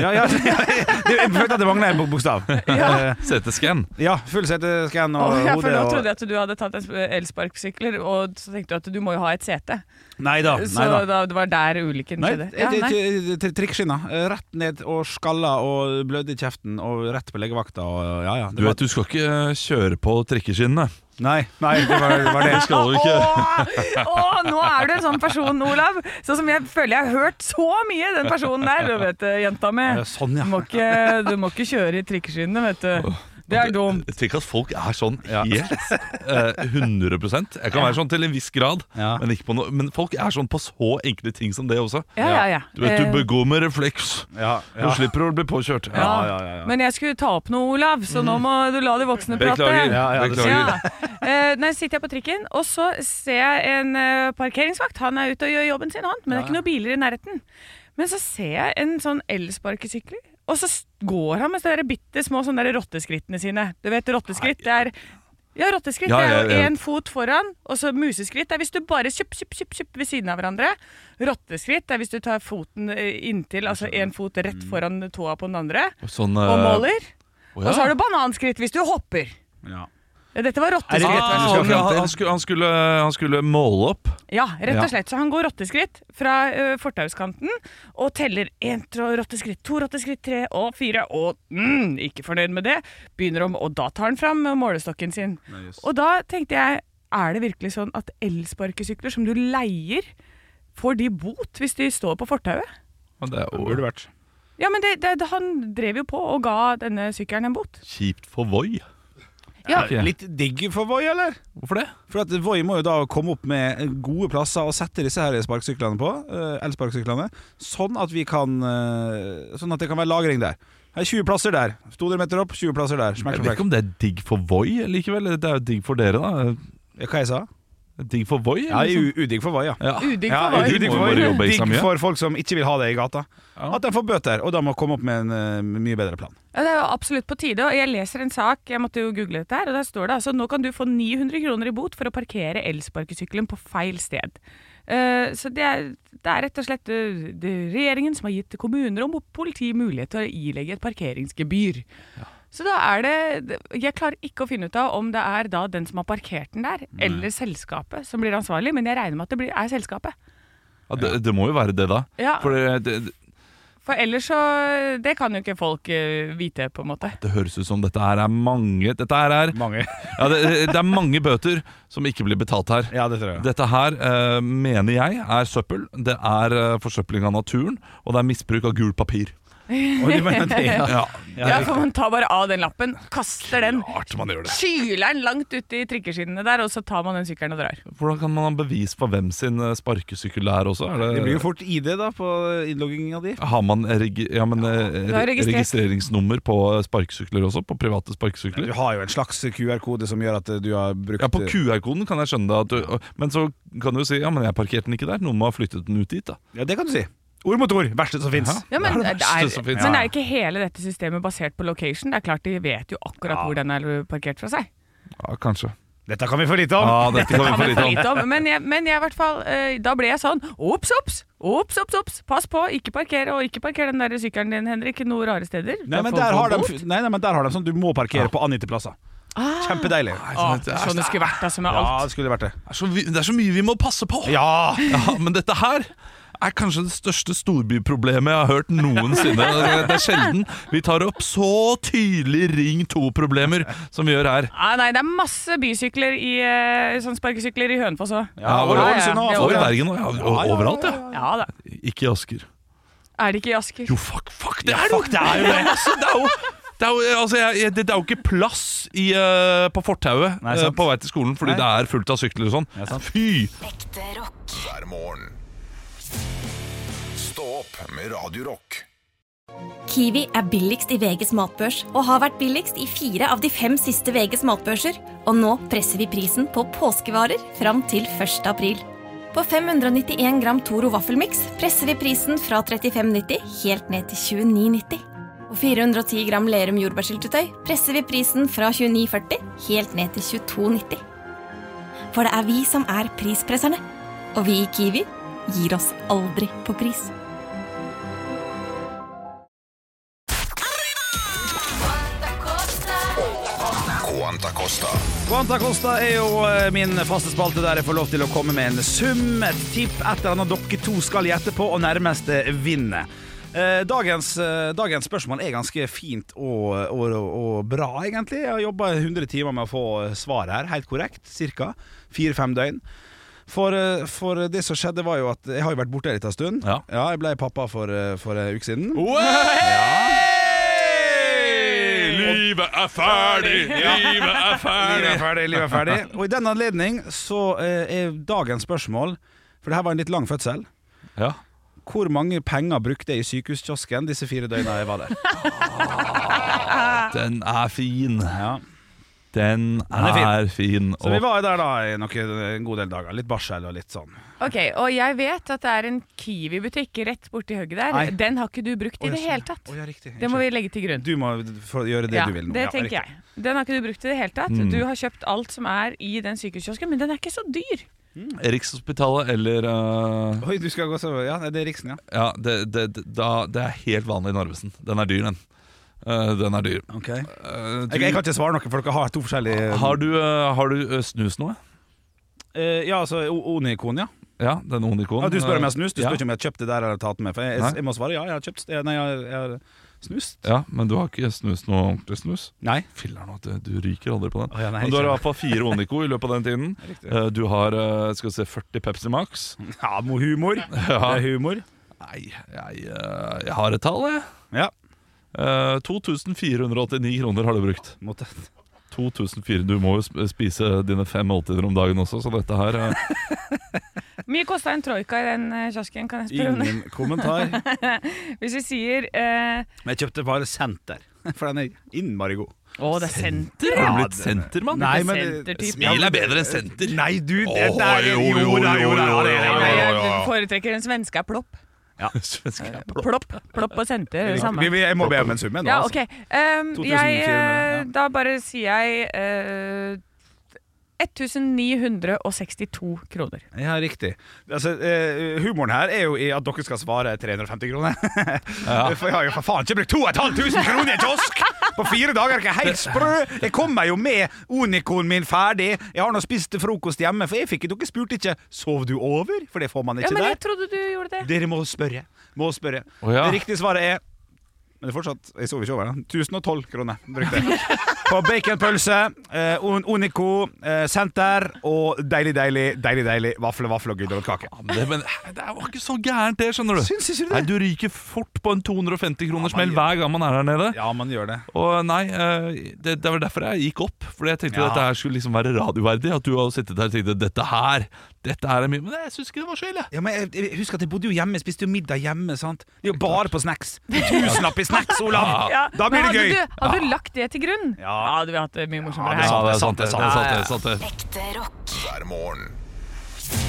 Speaker 2: ja, ja, ja jeg, jeg følte at det mangla en bok- bokstav. Eh,
Speaker 3: CT-scan.
Speaker 2: Ja, full CT-scan og
Speaker 4: Å, ja, for
Speaker 2: hode
Speaker 4: nå
Speaker 2: og
Speaker 4: trodde jeg at du hadde tatt en sp- elsparkesykler, og så tenkte du at du må jo ha et sete.
Speaker 2: Nei da.
Speaker 4: Så
Speaker 2: Nei da.
Speaker 4: da, det var der ulykken
Speaker 2: Nei,
Speaker 4: skjedde. Ja,
Speaker 2: til-
Speaker 4: nei.
Speaker 2: til- til Trikkskinna. Eh, Rett ned og skalla og blødde i kjeften og rett på legevakta og ja, ja. Det
Speaker 3: Du
Speaker 2: var,
Speaker 3: vet, du skal ikke eh, kjøre på trikkeskinnene.
Speaker 2: nei, nei, det var, det var det.
Speaker 3: Skal du ikke?
Speaker 4: Åh, åh, nå er du en sånn person, Olav. Sånn som jeg føler jeg har hørt så mye, den personen der. Du vet, eh, jenta mi.
Speaker 2: Ja, sånn, ja.
Speaker 4: Du må ikke, du må ikke kjøre i trikkeskinnene, vet du. Det er dumt.
Speaker 3: Tenk at folk er sånn helt eh, 100 Jeg kan være sånn til en viss grad,
Speaker 2: Ja.
Speaker 3: men, ikke på noe- men folk er sånn på så enkle ting som det også.
Speaker 4: Ja, ja, ja.
Speaker 3: Du vet,
Speaker 4: Eh,
Speaker 3: du bør gå med refleks.
Speaker 2: Ja,
Speaker 3: Du
Speaker 2: ja.
Speaker 3: slipper å bli påkjørt.
Speaker 4: ja.
Speaker 2: ja, ja, ja.
Speaker 4: Eh, Men jeg skulle ta opp noe, Olav, så
Speaker 3: Mm.
Speaker 4: nå må du la de voksne prate.
Speaker 3: Beklager.
Speaker 2: Ja, ja, det-
Speaker 3: Beklager.
Speaker 4: Eh, nei, sitter jeg på trikken, og så ser jeg en eh, parkeringsvakt. Han er ute og gjør jobben sin, han, men det er ikke noen biler i nærheten. Men så ser jeg en sånn elsparkesykler, og så s- går han med de bitte små sånne der rotteskrittene sine. Du vet, rotteskritt det er ja, rotteskritt
Speaker 3: Ja,
Speaker 4: det er
Speaker 3: ja,
Speaker 4: jo
Speaker 3: ja.
Speaker 4: én fot foran, og så museskritt det er hvis du bare kjupp, kjupp, kjupp, kjupp ved siden av hverandre. Rotteskritt det er hvis du tar foten eh, inntil, altså én fot rett foran tåa på den andre,
Speaker 3: Sånn,
Speaker 4: og
Speaker 3: Mm. eh,
Speaker 4: måler.
Speaker 3: å, ja.
Speaker 4: Og så har du bananskritt hvis du hopper.
Speaker 2: Ja.
Speaker 4: Ja, Dette var
Speaker 2: Er det rett
Speaker 4: rotteskritt. vet du.
Speaker 2: vei du
Speaker 3: Ah,
Speaker 2: skal
Speaker 3: han,
Speaker 2: frem til?
Speaker 3: han, skulle, han, skulle, eh, han skulle måle opp.
Speaker 4: Ja, rett
Speaker 3: Ja.
Speaker 4: og slett. Så han går rotteskritt fra uh, fortauskanten og teller én rotteskritt, to rotteskritt, tre og fire, og mm, ikke fornøyd med det, begynner om, og da tar han fram eh, målestokken sin. Og da tenkte jeg, er det virkelig sånn at elsparkesykler som du leier, får de bot hvis de står på fortauet?
Speaker 3: Ja, Det er,
Speaker 2: Burde vært.
Speaker 4: Ja, men det, det, han drev jo på og ga denne sykkelen en bot.
Speaker 3: Kjipt for Voi.
Speaker 4: Ja.
Speaker 3: Er det ikke?
Speaker 2: Litt digg for Voi, eller?
Speaker 3: Hvorfor det?
Speaker 2: For at Voi må jo da komme opp med gode plasser og sette disse her sparkesyklene på, eh, elsparkesyklene, sånn at vi kan eh, Sånn at det kan være lagring der. Her er 20 plasser der. 200 meter opp, 20 plasser der. Smack,
Speaker 3: Jeg vet
Speaker 2: smack,
Speaker 3: ikke om det er digg for Voi likevel. Det er jo digg for dere, da.
Speaker 2: smack. Hva jeg sa?
Speaker 3: Digg for Voi?
Speaker 2: Ja,
Speaker 3: liksom.
Speaker 2: u- udigg for Voi, ja.
Speaker 3: ja.
Speaker 4: Udigg
Speaker 2: Ja,
Speaker 4: for Voi.
Speaker 3: udigg
Speaker 2: udigg
Speaker 3: Må
Speaker 2: for,
Speaker 3: jo bare jobbe
Speaker 2: Voi.
Speaker 3: ekstra
Speaker 2: digg
Speaker 3: mye.
Speaker 2: for folk som ikke vil ha det i gata.
Speaker 3: Ja.
Speaker 2: At de får bøter, og da må komme opp med en eh, mye bedre plan.
Speaker 4: Ja, det er jo absolutt på tide. Og jeg leser en sak, jeg måtte jo google dette her, og der står det altså nå kan du få 900 kroner i bot for å parkere elsparkesykkelen på feil sted. Eh, så det er, det er rett og slett eh, det er regjeringen som har gitt kommuner og politi mulighet til å ilegge et parkeringsgebyr. Så da er det Jeg klarer ikke å finne ut av om det er da den som har parkert den der, eller selskapet som blir ansvarlig, men jeg regner med at det blir, er selskapet.
Speaker 3: Ja, det, det må jo være det, da.
Speaker 4: Ja.
Speaker 3: For det, det,
Speaker 4: For ellers så Det kan jo ikke folk eh, vite, på en måte.
Speaker 3: det høres ut som dette her er mange Dette her er,
Speaker 2: Mange.
Speaker 3: ja, det, det er mange bøter som ikke blir betalt her.
Speaker 2: Ja, det tror jeg.
Speaker 3: Dette her eh, mener jeg er søppel. Det er eh, forsøpling av naturen, og det er misbruk av gult papir.
Speaker 2: Og de mener det, ja.
Speaker 3: Ja,
Speaker 4: Ja, for man tar bare av den lappen, kaster den,
Speaker 3: Rart man gjør det.
Speaker 4: kyler den langt ute i trikkeskinnene der, og så tar man den sykkelen og drar.
Speaker 3: Hvordan kan man ha bevis for hvem sin eh, sparkesykkel det er også? Er
Speaker 2: Det blir jo fort ID da på innlogginga di.
Speaker 3: har man regi ja, men, eh,
Speaker 4: du har
Speaker 3: re-
Speaker 4: registrert.
Speaker 3: registreringsnummer på eh, sparkesykler også? På private sparkesykler?
Speaker 2: Du har jo en slags QR-kode som gjør at eh, du har brukt
Speaker 3: Ja, på QR-koden kan jeg skjønne det. At du, men så kan du jo si ja, men jeg parkerte den ikke der. Noen må ha flyttet den ut dit. da
Speaker 2: Ja, det kan du si. Ord mot ord. Verste som fins.
Speaker 4: Ja, men,
Speaker 3: Det er det verste som finnes.
Speaker 4: men er ikke hele dette systemet basert på location? Det er klart de vet jo akkurat hvor den er parkert fra seg.
Speaker 3: Ja, kanskje.
Speaker 2: Dette kan vi for lite om.
Speaker 3: Ja, dette kan vi få
Speaker 4: Kan vi
Speaker 3: litt
Speaker 4: få
Speaker 3: om.
Speaker 4: litt om. Men jeg, men jeg i hvert fall, eh, da ble jeg sånn ops, ops, ops, ops, ops. Pass på, ikke parkere, og ikke parker den der sykkelen din, Henrik, noen rare steder.
Speaker 2: Nei
Speaker 4: Da
Speaker 2: men,
Speaker 4: får
Speaker 2: der
Speaker 4: du
Speaker 2: har de,
Speaker 4: bot.
Speaker 2: nei, nei, men der har de sånn du må parkere på angitte plasser. Kjempedeilig.
Speaker 4: Å, Sånn det skulle vært, altså, med
Speaker 2: Ja,
Speaker 4: alt.
Speaker 2: det skulle vært det.
Speaker 3: Det er, så, vi- det er så mye vi må passe på!
Speaker 2: Ja!
Speaker 3: Ja, men dette her er kanskje det største storbyproblemet jeg har hørt noensinne. Det er sjelden vi tar opp så tydelig Ring 2-problemer som vi gjør her.
Speaker 4: Ah, nei, det er masse bysykler i eh, sånn sparkesykler i Hønefoss òg.
Speaker 2: Ja, og i Ålesund og-
Speaker 3: Og i Bergen og ja, og overalt, ja.
Speaker 4: Ja da.
Speaker 3: Ikke i Asker.
Speaker 4: Er det ikke i Asker?
Speaker 3: Jo, fuck, fuck, det er det jo! Det er jo altså, det. Er jo, det, er jo, altså, jeg, jeg- det det er jo ikke plass i, eh, på fortauet
Speaker 2: Nei,
Speaker 3: eh,
Speaker 2: sant.
Speaker 3: på vei til skolen fordi
Speaker 2: Nei.
Speaker 3: det er fullt av sykler og sånn. Fy!
Speaker 5: Ekte rock.
Speaker 1: hver morgen. Stå opp med Radio Rock.
Speaker 8: Kiwi er billigst i VGs matbørs og har vært billigst i fire av de fem siste VGs matbørser. Og nå presser vi prisen på påskevarer fram til 1. april. På 591 gram Toro vaffelmiks presser vi prisen fra 35,90 helt ned til 29,90. Og 410 gram Lerum jordbærsyltetøy presser vi prisen fra 29,40 helt ned til 22,90. For det er vi som er prispresserne. Og vi i Kiwi gir oss aldri på pris.
Speaker 1: Quanta Costa.
Speaker 2: Quanta Costa er jo eh, min faste spalte der jeg får lov til å komme med en sum, et tipp, et eller annet dere to skal gjette på, og nærmeste vinner. Eh, Dagens, eh, dagens spørsmål er ganske fint og, og, og bra, egentlig. Jeg har jobba 100 timer med å få svar her, helt korrekt. Cirka. Fire-fem døgn. For, eh, for det som skjedde, var jo at jeg har jo vært borte en liten stund.
Speaker 3: Ja.
Speaker 2: jeg ble pappa for, eh, for en uke siden.
Speaker 3: Livet er ferdig! Livet er
Speaker 2: Livet er ferdig, livet er ferdig. Og i den anledning så eh, er dagens spørsmål For det her var en litt lang fødsel.
Speaker 3: Ja.
Speaker 2: Hvor mange penger brukte jeg i sykehuskiosken disse fire døgna jeg var der?
Speaker 3: Den er fin.
Speaker 2: Ja.
Speaker 3: Den
Speaker 2: er fin.
Speaker 3: er fin.
Speaker 2: Så vi var jo der da i noen, en god del dager. Litt barsel og litt sånn.
Speaker 4: Ok, og jeg vet at det er en Kiwi-butikk rett borti høgget der.
Speaker 2: Nei.
Speaker 4: Den har ikke du brukt i det hele tatt.
Speaker 2: Å, ja, riktig.
Speaker 4: Det må vi legge til grunn.
Speaker 2: Du må få gjøre det
Speaker 4: ja,
Speaker 2: du vil nå.
Speaker 4: det
Speaker 2: Ja,
Speaker 4: tenker
Speaker 2: riktig. Mm.
Speaker 4: jeg. Den har ikke du brukt i det hele tatt. Du har kjøpt alt som er i den sykehuskiosken, men den er ikke så dyr.
Speaker 3: Rikshospitalet eller eh,
Speaker 2: Oi, du skal gå så Ja, nei, det er Riksen, ja.
Speaker 3: Ja, det, det, det, da, det er helt vanlig Narvesen. Den er dyr, den. Eh, den er dyr. Eh,
Speaker 2: Jeg, jeg
Speaker 3: du,
Speaker 2: kan ikke svare noe, for dere har to forskjellige
Speaker 3: har du, eh, har du eh, snus nå?
Speaker 2: Eh, Ja, altså O- Onikon, ja.
Speaker 3: Ja, den Onikon.
Speaker 2: ja. Du spør om jeg har snust. Du
Speaker 3: ja.
Speaker 2: spør ikke om jeg har kjøpt det der eller tatt det med. For jeg,
Speaker 3: Nei.
Speaker 2: jeg, jeg må svare ja, jeg har kjøpt det. Nei, jeg, jeg har snust.
Speaker 3: Ja, men du har ikke snus noe ordentlig snus?
Speaker 2: Nei.
Speaker 3: Filler'n, at du du ryker aldri på den.
Speaker 2: Å, ja, nei,
Speaker 3: men du har i
Speaker 2: ikke.
Speaker 3: hvert fall fire Onico i løpet av den tiden. Eh, du har eh, skal vi se, 40 Pepsi Max.
Speaker 2: Ja, mo- humor. Det er humor.
Speaker 3: Nei, jeg, eh, jeg har et tall, jeg.
Speaker 2: Ja.
Speaker 3: Eh, 2489 kroner har du brukt.
Speaker 2: Måtte.
Speaker 3: 2004, Du må jo sp- spise dine fem måltider om dagen også, så dette her eh,
Speaker 9: Mye kosta en troika i den eh, kiosken, kan jeg spørre om det?
Speaker 2: Ingen kommentar.
Speaker 9: Hvis vi sier eh,
Speaker 2: Men jeg kjøpte bare Senter, for den er innmari god.
Speaker 9: Å, det er senter!
Speaker 3: Har du
Speaker 2: Ja,
Speaker 3: blitt sentermann?
Speaker 2: Nei,
Speaker 9: Ikke
Speaker 2: men-
Speaker 9: sentertype.
Speaker 3: Smil er bedre enn senter.
Speaker 2: Nei, du, det
Speaker 3: Åh,
Speaker 2: der
Speaker 3: jo,
Speaker 2: jo,
Speaker 3: jo,
Speaker 2: da, jo, da,
Speaker 3: jo,
Speaker 2: det-
Speaker 3: jo, jo,
Speaker 9: Nei,
Speaker 3: jo.
Speaker 9: jeg foretrekker en svenske er plopp.
Speaker 3: Svensk
Speaker 4: Eh,
Speaker 3: er bra.
Speaker 9: Plopp plopp og senter er det samme.
Speaker 2: Vi, vi, jeg må be om en summe nå.
Speaker 9: Ja,
Speaker 2: altså.
Speaker 9: ok. Ehm, jeg,
Speaker 2: 2400, ja.
Speaker 9: eh, da bare sier jeg eh, 1962 kroner.
Speaker 2: Ja, riktig. Altså, eh, humoren her er jo i at dere skal svare 350 kroner. For jeg har jo for faen ikke brukt 2500 kroner i en kiosk! På fire dager er jeg ikke helt sprø! Jeg kom meg jo med Unicoen min ferdig. Jeg har nå spist frokost hjemme, for jeg fikk dere spurte ikke 'sov du over?' For det får man
Speaker 9: Ja,
Speaker 2: ikke
Speaker 9: men jeg
Speaker 2: der.
Speaker 9: trodde du gjorde det.
Speaker 2: Dere må spørre. Må spørre.
Speaker 3: Å, ja.
Speaker 2: Det riktige svaret er men det er fortsatt, jeg sov ikke over. da. 1012 kroner brukte jeg. På baconpølse, eh, Un- Unico, eh, Senter og deilig, deilig, deilig deilig vafle, vafle og gulrotkake.
Speaker 3: Ja, men Det, men eh, det var ikke så gærent, det, skjønner du.
Speaker 2: Syns ikke du det?
Speaker 3: Nei, du ryker fort på en 250 kroners
Speaker 2: Ja, man
Speaker 3: smell
Speaker 2: gjør-
Speaker 3: hver gang man er her nede.
Speaker 2: Ja, man gjør det.
Speaker 3: Og nei, eh, det, det var derfor jeg gikk opp. Fordi jeg tenkte
Speaker 2: Ja.
Speaker 3: at dette her skulle liksom være radioverdig. At du hadde sittet der og tenkte dette her, dette her er mye. Men jeg syns ikke det var så ille.
Speaker 2: Ja, men jeg, jeg husker at jeg bodde jo hjemme, jeg spiste jo middag hjemme. sant? Det er jo bare på snacks. Tusenlapp i snacks, Olav!
Speaker 9: Ja,
Speaker 2: Da blir
Speaker 9: men
Speaker 2: det gøy!
Speaker 9: Hadde du, hadde du lagt det til grunn?
Speaker 2: Ja.
Speaker 9: hadde vi hatt det mye
Speaker 2: Ja,
Speaker 9: morsommere
Speaker 2: det
Speaker 9: her.
Speaker 2: sa- sant, det er sant,
Speaker 3: det er sant, det er sant, det er sant, det er
Speaker 5: ekte
Speaker 3: sant.
Speaker 5: rock,
Speaker 1: hver morgen.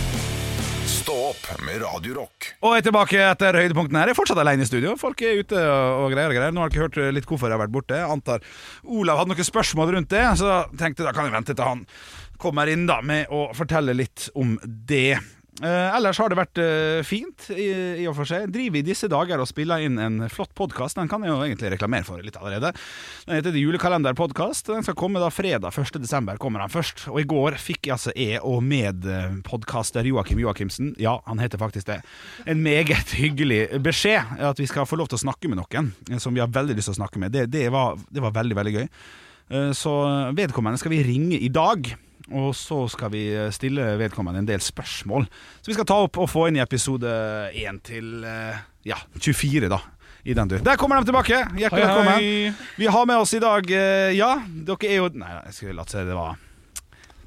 Speaker 1: Stå opp med Radio Rock.
Speaker 2: Og jeg er tilbake etter høydepunktene her. Jeg er fortsatt alene i studio. Folk er ute og og greier og greier. Nå har dere hørt litt hvorfor jeg har vært borte. Jeg antar Olav hadde noen spørsmål rundt det, så tenkte jeg da kan jeg vente til han kommer inn da med å fortelle litt om det. Eh, ellers har det vært eh, fint, i, i og for seg. Jeg Driver i disse dager og spiller inn en flott podkast. Den kan jeg jo egentlig reklamere for litt allerede. Den heter The Julekalender Podcast. Den skal komme da fredag 1. desember. kommer den først. Og i går fikk jeg altså jeg og medpodkaster Joakim Joakimsen, ja, han heter faktisk det, en meget hyggelig beskjed. At vi skal få lov til å snakke med noen eh, som vi har veldig lyst til å snakke med. Det, det, var, det var veldig, veldig gøy. Eh, Så vedkommende skal vi ringe i dag. Og så skal vi eh, stille vedkommende en del spørsmål. Så vi skal ta opp og få inn i episode 1 til eh, ja, 24, da. I den tur. Der kommer de tilbake! Hjertelig
Speaker 3: Hei, hei.
Speaker 2: velkommen. Vi har med oss i dag eh, Ja, dere er jo Nei, jeg skulle latt seg det var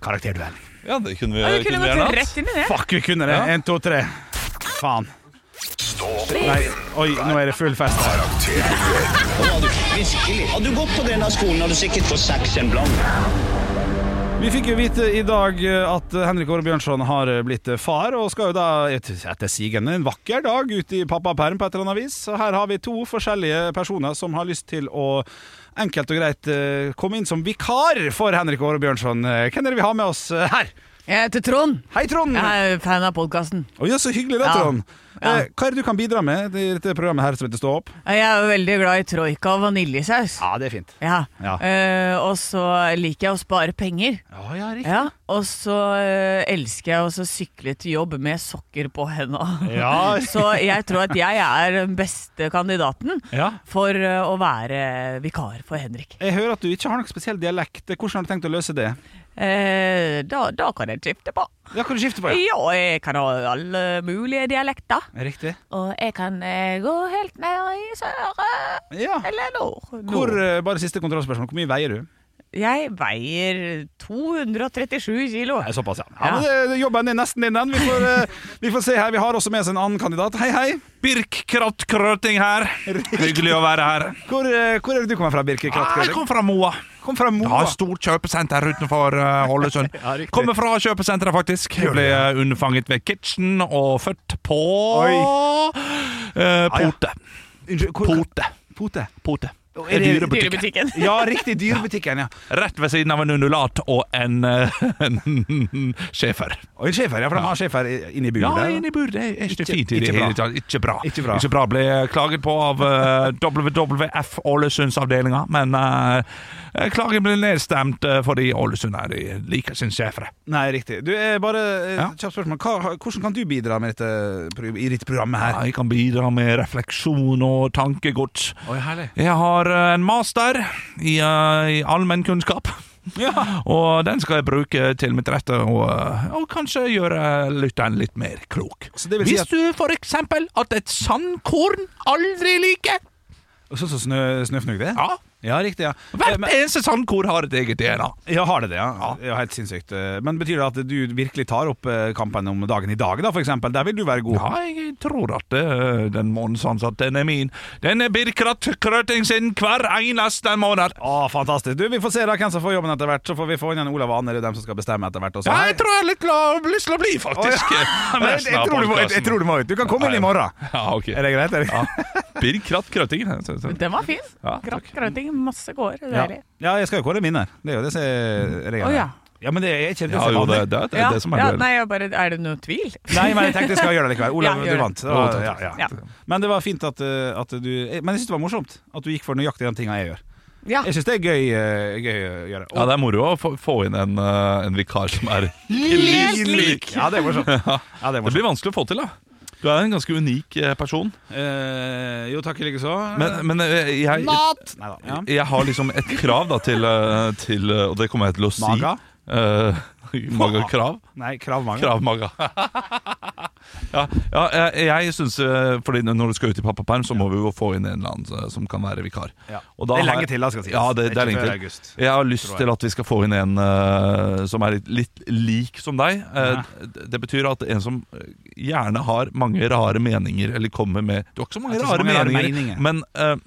Speaker 2: karakterduell.
Speaker 3: Ja, det kunne vi,
Speaker 9: Ja, du
Speaker 3: kunne
Speaker 9: kunne
Speaker 3: vi gjerne
Speaker 9: gått
Speaker 3: hatt.
Speaker 9: rett inn i det.
Speaker 2: Fuck, vi kunne det!
Speaker 3: Ja.
Speaker 2: Én, to, tre. Faen. Nei, oi, nå er det full fest her.
Speaker 10: Virkelig. Hadde du gått på denne skolen, hadde du sikkert fått seks en blank.
Speaker 2: Vi fikk jo vite i dag eh, at Henrik Åre Bjørnson har eh, blitt eh, far, og skal jo da et- etter sigende en vakker dag ut i pappaperm på et eller annet vis. Så her har vi to forskjellige personer som har lyst til å enkelt og greit eh, komme inn som vikar for Henrik Åre Bjørnson. Eh, Hvem er det vi har med oss eh, her?
Speaker 4: Jeg heter Trond.
Speaker 2: Hei, Trond! Å
Speaker 4: er fan av podkasten.
Speaker 2: ja, så hyggelig da,
Speaker 4: Ja.
Speaker 2: Trond.
Speaker 4: Ja.
Speaker 2: Eh, Hva er det du kan bidra med i dette programmet her som heter Stå opp?
Speaker 4: Jeg er veldig glad i troika og vaniljesaus.
Speaker 2: Ja, det er fint.
Speaker 4: Ja.
Speaker 2: Ja.
Speaker 4: Eh, og så liker jeg å spare penger.
Speaker 2: Ja, ja, riktig.
Speaker 4: Ja. Og så eh, elsker jeg også å sykle til jobb med sokker på henda.
Speaker 2: Ja.
Speaker 4: så jeg tror at jeg er den beste kandidaten
Speaker 2: Ja.
Speaker 4: for eh, å være vikar for Henrik.
Speaker 2: Jeg hører at du ikke har noen spesiell dialekt. Hvordan har du tenkt å løse det?
Speaker 4: Eh, da, da kan jeg skifte på.
Speaker 2: Ja, kan du skifte på? Ja.
Speaker 4: Ja, jeg kan ha alle mulige dialekter.
Speaker 2: Riktig.
Speaker 4: Og jeg kan eh, gå helt ned i sør eh,
Speaker 2: Ja.
Speaker 4: eller nord.
Speaker 2: Hvor,
Speaker 4: Nord.
Speaker 2: eh, bare siste kontrollspørsmål, hvor mye veier du?
Speaker 4: Jeg veier 237 kilo.
Speaker 2: Såpass, ja.
Speaker 4: Ja.
Speaker 2: men det, det jobben er nesten din, den. Vi får, eh, vi får se her. Vi har også med oss en annen kandidat. Hei, hei.
Speaker 3: Birk Kratt Krøting her. Hyggelig å være her.
Speaker 2: Hvor, eh, hvor er det du kommer fra, Birke Kratt?
Speaker 3: Jeg kom fra Moa.
Speaker 2: Kom fra
Speaker 3: Jeg har
Speaker 2: Moa.
Speaker 3: et stort kjøpesenter utenfor eh, Ålesund.
Speaker 2: Ja, riktig.
Speaker 3: Kommer fra kjøpesenteret, faktisk. Jeg ble eh, unnfanget ved kitchen og født på eh, Pote.
Speaker 2: Unnskyld, hvor-
Speaker 3: Pote.
Speaker 2: Ah, Pote.
Speaker 3: Pote.
Speaker 2: er det-
Speaker 3: Dyrebutikken.
Speaker 2: Ja, riktig. Dyrebutikken, ja.
Speaker 3: Rett ved siden av en undulat og en, eh, en schæfer.
Speaker 2: Og en schæfer, ja. For de har schæfer i- inne i buret.
Speaker 3: Ja,
Speaker 2: der, da.
Speaker 3: inn i bur, det er ikke,
Speaker 2: Ikke-
Speaker 3: fint i
Speaker 2: ikke
Speaker 3: det
Speaker 2: bra.
Speaker 3: hele tatt. Ikke bra.
Speaker 2: Ikke bra.
Speaker 3: Ble klaget på av eh, WWF Ålesundsavdelinga, men eh, klagen ble nedstemt eh, fordi Ålesund er de liker sin sjefere.
Speaker 2: Nei, riktig. Du, eh, bare eh,
Speaker 3: Ja.
Speaker 2: kjapt spørsmål. Hva, hvordan kan du bidra med dette, pro- i dette programmet her?
Speaker 3: Jeg kan bidra med refleksjon og tankegods.
Speaker 2: Oi, herlig.
Speaker 3: Jeg har eh, en master i, eh, i allmennkunnskap. Og den skal jeg bruke til mitt rette og, og kanskje gjøre lytteren litt mer klok.
Speaker 2: vil si
Speaker 3: Hvis
Speaker 2: at-
Speaker 3: du for eksempel at et sandkorn aldri liker
Speaker 2: Sånn som snø, snøfnugg det?
Speaker 3: Ja.
Speaker 2: Ja, riktig, ja. Eh,
Speaker 3: Hvert
Speaker 2: men-
Speaker 3: eneste sandkorn har et eget DNA.
Speaker 2: Ja, har det det, ja. ja. Helt sinnssykt. Eh, Men betyr det at du virkelig tar opp eh, kampen om dagen i dag, da, for eksempel? Der vil du være god.
Speaker 3: Ja, jeg tror at eh, den månedsansatte den er min. Den er Birkrat Krøting sin hver eneste måned.
Speaker 2: Å, fantastisk. Du, Vi får se da hvem som får jobben etter hvert. Så får vi få inn en Olav Aner, dem som skal bestemme etter hvert. Også.
Speaker 3: Ja, jeg tror jeg har litt la- lyst til å bli, faktisk.
Speaker 2: Men jeg, jeg, tror du må, jeg, jeg tror du må ut. Du kan komme inn i morgen.
Speaker 3: Ja, ok.
Speaker 2: Er det greit? Er det?
Speaker 3: Ja. Birkrat Krøting. så- så-
Speaker 4: Den var fin.
Speaker 3: Ja,
Speaker 4: Kratt, krøting, masse går.
Speaker 2: Ja.
Speaker 4: Deilig.
Speaker 2: ja, jeg skal jo kåre min her. Det er jo det som er regelen.
Speaker 4: Å, ja.
Speaker 2: ja, men det er ikke det
Speaker 3: Ja,
Speaker 2: som er
Speaker 3: jo,
Speaker 2: vanlig.
Speaker 3: det, det, er- det er
Speaker 4: Ja,
Speaker 3: det som er
Speaker 4: ja,
Speaker 3: det.
Speaker 4: nei, jeg bare, er det noe tvil?
Speaker 2: Nei, men jeg tenkte jeg skal gjøre det likevel. Olav,
Speaker 4: Ja, gjør
Speaker 2: du
Speaker 4: det.
Speaker 2: vant. Det var,
Speaker 3: Jo,
Speaker 2: ja,
Speaker 3: takk,
Speaker 2: ja.
Speaker 4: Ja.
Speaker 2: Men det var fint at, eh, at du Men jeg syns det var morsomt at du gikk for nøyaktig de tinga jeg gjør.
Speaker 4: Ja.
Speaker 2: Jeg syns det er gøy, eh, gøy å gjøre.
Speaker 3: Ja, det er moro å få, få inn en, eh, en vikar som er
Speaker 2: Lin
Speaker 3: helt lik.
Speaker 2: Ja, det er morsomt. Ja, det er
Speaker 3: Det
Speaker 2: morsomt.
Speaker 3: blir vanskelig å få til, da. Du er en ganske unik eh, person.
Speaker 2: Eh, jo, takk i like så.
Speaker 3: Men, men eh, jeg,
Speaker 2: Mat! Neida, ja.
Speaker 3: jeg har liksom et krav da til, eh, til eh, Og det kommer jeg til å si.
Speaker 2: Maga?
Speaker 3: Eh, maga krav.
Speaker 2: Nei, kravmangel.
Speaker 3: Kravmaga. ja, ja, jeg, jeg syns eh, Fordi når du skal ut i pappaperm, så må vi jo få inn en eller annen eh, som kan være vikar.
Speaker 2: Ja.
Speaker 3: Og
Speaker 2: Det er
Speaker 3: har
Speaker 2: lenge
Speaker 3: jeg-
Speaker 2: til, da, skal sies.
Speaker 3: Ja, det,
Speaker 2: Det
Speaker 3: det,
Speaker 2: er
Speaker 3: er
Speaker 2: ikke
Speaker 3: lenge
Speaker 2: før
Speaker 3: til.
Speaker 2: august,
Speaker 3: jeg har lyst
Speaker 2: tror jeg.
Speaker 3: til at vi skal få inn en eh, som er litt, litt lik som deg. Eh, d- Det betyr at en som eh, gjerne har mange rare meninger, eller kommer med Du har ikke så mange,
Speaker 2: Jeg har
Speaker 3: rare,
Speaker 2: ikke så mange rare
Speaker 3: meninger,
Speaker 2: meninger.
Speaker 3: men eh,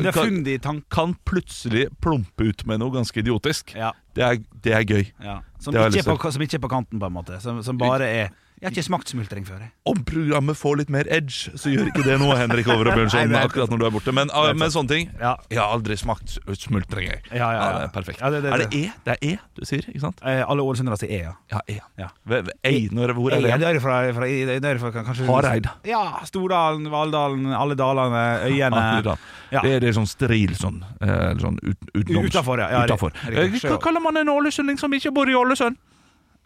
Speaker 2: Det er
Speaker 3: kan,
Speaker 2: fundig tank.
Speaker 3: kan plutselig plumpe ut med noe ganske idiotisk.
Speaker 2: Ja.
Speaker 3: Det, er, det er gøy.
Speaker 2: Ja. Som,
Speaker 3: Det har jeg
Speaker 2: ikke
Speaker 3: lyst
Speaker 2: er på, som ikke er på kanten, på en måte. Som, som bare er Jeg har ikke smakt smultring før. jeg.
Speaker 3: om programmet får litt mer edge, så gjør ikke det noe, Henrik Over og Bjørnson,
Speaker 2: Nei, det er
Speaker 3: akkurat når du er borte. Men ah, med sånne ting
Speaker 2: Ja.
Speaker 3: Jeg har aldri smakt smultring, jeg.
Speaker 2: Ja, ja, ja.
Speaker 3: det er perfekt.
Speaker 2: Ja, det- det-
Speaker 3: er det E? Det er E du sier, ikke sant?
Speaker 2: Eh, alle ålesundere sier E, ja.
Speaker 3: Ja, E.
Speaker 2: Ja.
Speaker 3: Ve- ve- Einar, hvor
Speaker 2: E,
Speaker 3: er
Speaker 2: det
Speaker 3: det?
Speaker 2: er jo fra, fra, det er jo fra kanskje
Speaker 3: Hareid.
Speaker 2: Ja. Stordalen, Valldalen, alle dalene, øyene.
Speaker 3: Hareid,
Speaker 2: Ja.
Speaker 3: Det er det er sånn stril sånn, eh, sånn ut, utenom-
Speaker 2: Utenfor, ja, ja,
Speaker 3: utenfor.
Speaker 2: riktig, riktig.
Speaker 3: Eh, Hva kaller man en ålesunding som ikke bor i Ålesund?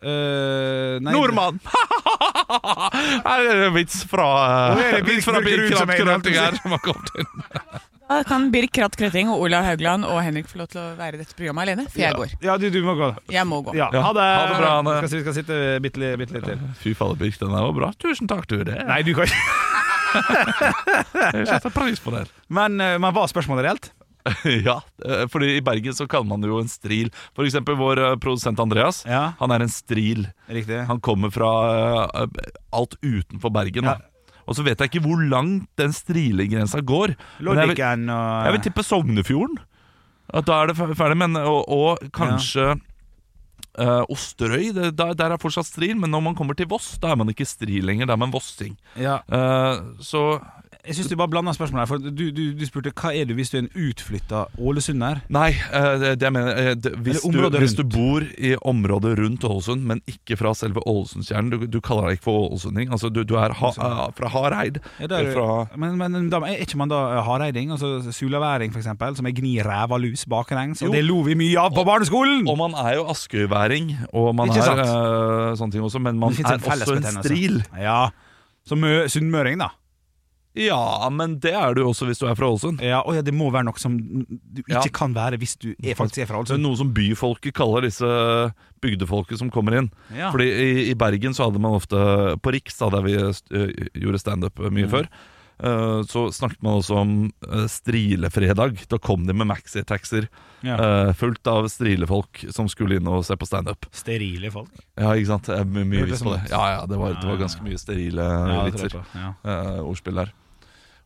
Speaker 2: Eh, nei,
Speaker 3: Nordmann! Her er det en vits fra eh,
Speaker 2: Nå er det
Speaker 3: vits fra
Speaker 2: Birk Ruud som er inne,
Speaker 3: Krøtting her som har kommet inn.
Speaker 4: Da kan Birk Kratt Krøtting og Olav Haugland og Henrik få lov til å være i dette programmet alene, for jeg går.
Speaker 2: Ja, du, du må gå.
Speaker 4: Jeg må gå.
Speaker 2: Ja, ha det.
Speaker 3: Ha det bra, Anne.
Speaker 2: Vi skal, vi skal sitte bitte, litt- bitte litt til.
Speaker 3: Fy fader, Birk, den der var bra. Tusen takk, du. Det
Speaker 2: Nei, du kan ikke
Speaker 3: jeg setter pris på det.
Speaker 2: Men, eh, men var spørsmålet reelt?
Speaker 3: Ja, eh, fordi i Bergen så kaller man det jo en stril. For eksempel vår eh, produsent Andreas.
Speaker 2: Ja.
Speaker 3: Han er en stril.
Speaker 2: Riktig.
Speaker 3: Han kommer fra eh, alt utenfor Bergen.
Speaker 2: Ja.
Speaker 3: Da. Og så vet jeg ikke hvor langt den strilegrensa går. Men jeg, vil,
Speaker 2: Loddiken og
Speaker 3: jeg vil tippe Sognefjorden. At da er det fer- ferdig. Men, og, og kanskje eh, Osterøy. Det, der, der er fortsatt stril, men når man kommer til Voss, da er man ikke stril lenger. Da er man vossing.
Speaker 2: ja.
Speaker 3: Eh, så
Speaker 2: Jeg syns du bare blander spørsmålet her. For du, du, du spurte hva er du hvis du er en utflytta ålesunder?
Speaker 3: Nei, eh, det, det jeg mener eh, det, hvis,
Speaker 2: Eller området
Speaker 3: du, hvis du
Speaker 2: rundt.
Speaker 3: bor i området rundt Ålesund, men ikke fra selve Ålesundstjernen Du, du kaller deg ikke for ålesunding. Altså, du, du er ha, eh, fra Hareid.
Speaker 2: Ja, det er
Speaker 3: eller fra,
Speaker 2: du- men, men da, er ikke man da eh, hareiding? Altså sulaværing, for eksempel, som er gni ræva lus baklengs?
Speaker 3: Jo.
Speaker 2: Og det lo vi mye av på barneskolen!
Speaker 3: og man er jo askøyværing, og man
Speaker 2: Mm. Ikke
Speaker 3: er
Speaker 2: sant?
Speaker 3: eh, sånne ting også, men man
Speaker 2: Det finnes en
Speaker 3: er også en
Speaker 2: fellesbetegnelse.
Speaker 3: stril.
Speaker 2: Ja. Som mø- sunnmøring, da.
Speaker 3: Ja, men det er du også hvis du er fra Ålesund.
Speaker 2: Ja, og ja, det må være noe som du ikke
Speaker 3: Ja.
Speaker 2: kan være hvis du er faktisk er fra
Speaker 3: Det er
Speaker 2: Ålesund.
Speaker 3: noe som byfolket kaller disse bygdefolket som kommer inn.
Speaker 2: Ja.
Speaker 3: Fordi i, i Bergen så hadde man ofte På Riks, da, der vi eh, gjorde standup
Speaker 2: Mm.
Speaker 3: mye før, eh, så snakket man også om eh, strilefredag. Da kom de med maxitaxier
Speaker 2: Ja.
Speaker 3: eh, fullt av strilefolk som skulle inn og se på standup.
Speaker 2: Sterile folk.
Speaker 3: Ja, ikke sant? Det er my- mye
Speaker 2: Hørtes
Speaker 3: vits på
Speaker 2: sånn
Speaker 3: det.
Speaker 2: ut.
Speaker 3: Ja, ja, det var, det var ganske mye sterile
Speaker 2: Ja, det tror jeg
Speaker 3: vitser.
Speaker 2: på. Ja.
Speaker 3: eh, ordspill der.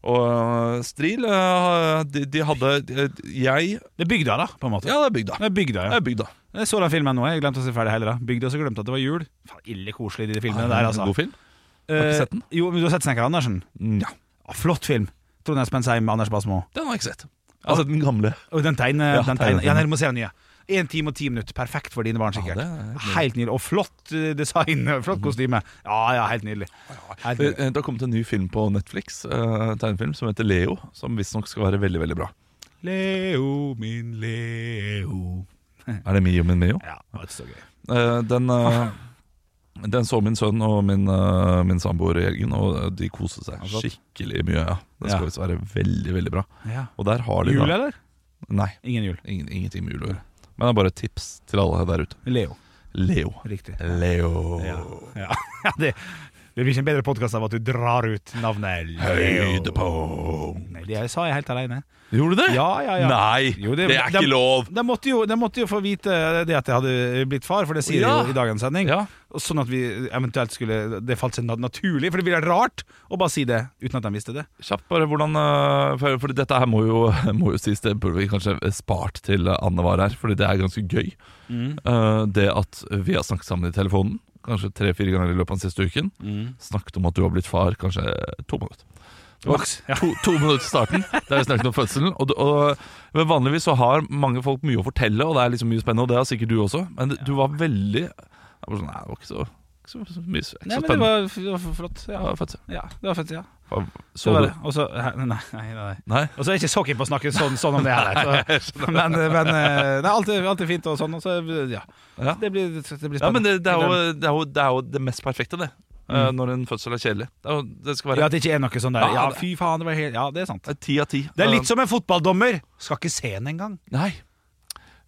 Speaker 3: Og eh, stril eh, de, de hadde de, Jeg
Speaker 2: Det er bygda, da, på en måte.
Speaker 3: Ja, Eh, det er bygda.
Speaker 2: Det er bygda,
Speaker 3: Det
Speaker 2: ja.
Speaker 3: er bygda.
Speaker 2: Jeg så den filmen nå, jeg glemte å se ferdig hele da. Bygda så glemte at det var jul. Faen, ille koselig, de filmene der, altså.
Speaker 3: God film? Har ikke sett den?
Speaker 2: Eh, jo, men du har sett Snekker Andersen?
Speaker 3: Nja,
Speaker 2: Ja, flott film. Trond Espen Seim, Anders Basmo.
Speaker 3: den har jeg ikke sett. Altså den gamle.
Speaker 2: Og den tegne,
Speaker 3: Ja,
Speaker 2: den tegne.
Speaker 3: tegne-
Speaker 2: Ja, nei, du må se den nye. Én time og ti minutter. Perfekt for dine barn,
Speaker 3: Ja,
Speaker 2: sikkert.
Speaker 3: det er helt Mhm.
Speaker 2: helt nydelig. Og flott eh, design, og flott kostyme. Ja, ja, helt nydelig. Helt
Speaker 3: Det
Speaker 2: nydelig.
Speaker 3: det har kommet en ny film på Netflix, eh, tegnefilm, som heter Leo. Som visstnok skal være veldig veldig bra.
Speaker 2: Leo, min Leo.
Speaker 3: Er det Mio min Mio?
Speaker 2: Ja, det var ikke så gøy.
Speaker 3: Eh, Den, eh, den så min sønn og min, eh, min samboer i helgen, og de koste seg
Speaker 2: Ja, godt.
Speaker 3: skikkelig mye. ja Den skal
Speaker 2: Ja.
Speaker 3: visst være veldig veldig bra.
Speaker 2: Ja.
Speaker 3: Og der har de
Speaker 2: Jul,
Speaker 3: da
Speaker 2: eller?
Speaker 3: Nei,
Speaker 2: Ingen jul.
Speaker 3: ingen, ingenting med jul å gjøre. Men det er bare et tips til alle der ute.
Speaker 2: Leo.
Speaker 3: Leo.
Speaker 2: Riktig.
Speaker 3: Leo.
Speaker 2: Ja. ja. ja det, det blir ikke en bedre podkast av at du drar ut navnet
Speaker 3: Høydepunkt.
Speaker 2: Nei, det sa jeg helt aleine.
Speaker 3: Gjorde du det?
Speaker 2: Ja, ja, ja.
Speaker 3: Nei,
Speaker 2: Jo,
Speaker 3: det, er ikke
Speaker 2: de,
Speaker 3: lov!
Speaker 2: De måtte, jo, de måtte jo få vite det at jeg hadde blitt far, for det sier de
Speaker 3: Ja.
Speaker 2: jo i dagens sending.
Speaker 3: Ja.
Speaker 2: Og Sånn at vi eventuelt skulle Det falt seg nat- naturlig, for det ville vært rart å bare si det uten at de visste det.
Speaker 3: Kjapt bare hvordan øh, For, for dette her må jo, må jo sies, det burde vi kanskje spart til Anne var her, fordi det er ganske gøy.
Speaker 2: Mm.
Speaker 3: Eh, det at vi har snakket sammen i telefonen, kanskje tre-fire ganger i løpet av den siste uken.
Speaker 2: Mm.
Speaker 3: Snakket om at du har blitt far kanskje to minutter. Det var
Speaker 2: Maks, ja.
Speaker 3: to, to minutter til starten, der vi snakket om fødselen. Og, du- og, men vanligvis så har mange folk mye å fortelle, og det er liksom mye spennende. Og det har sikkert du også, men du var veldig jeg var sånn, Nei, det var ikke så, ikke så, så mye ikke
Speaker 2: Nei,
Speaker 3: så
Speaker 2: men det
Speaker 3: spennende.
Speaker 2: var, det var flott. Ja.
Speaker 3: Ja, fødsel.
Speaker 2: ja, det var fett, ja.
Speaker 3: Så
Speaker 2: det var
Speaker 3: du?
Speaker 2: det. Og så Nei, nei. nei.
Speaker 3: Nei?
Speaker 2: Og så er jeg ikke så keen på å snakke sånn, sånn om det her. Så. Men, men eh, det er alltid, alltid fint og sånn. Og så, ja.
Speaker 3: Ja.
Speaker 2: Det, blir, det blir spennende.
Speaker 3: Ja, men det, det, er jo, det, er jo, det er jo det mest perfekte, det. Eh, Når en fødsel er kjedelig. Det, er jo, det skal
Speaker 2: Mm. Ja,
Speaker 3: være
Speaker 2: At det ikke er noe sånn der
Speaker 3: Ja,
Speaker 2: Ja,
Speaker 3: det-
Speaker 2: fy faen, det var helt Ja, det er sant.
Speaker 3: eh, ti av ti.
Speaker 2: Det er litt som en fotballdommer. Skal ikke se den engang.
Speaker 3: Nei.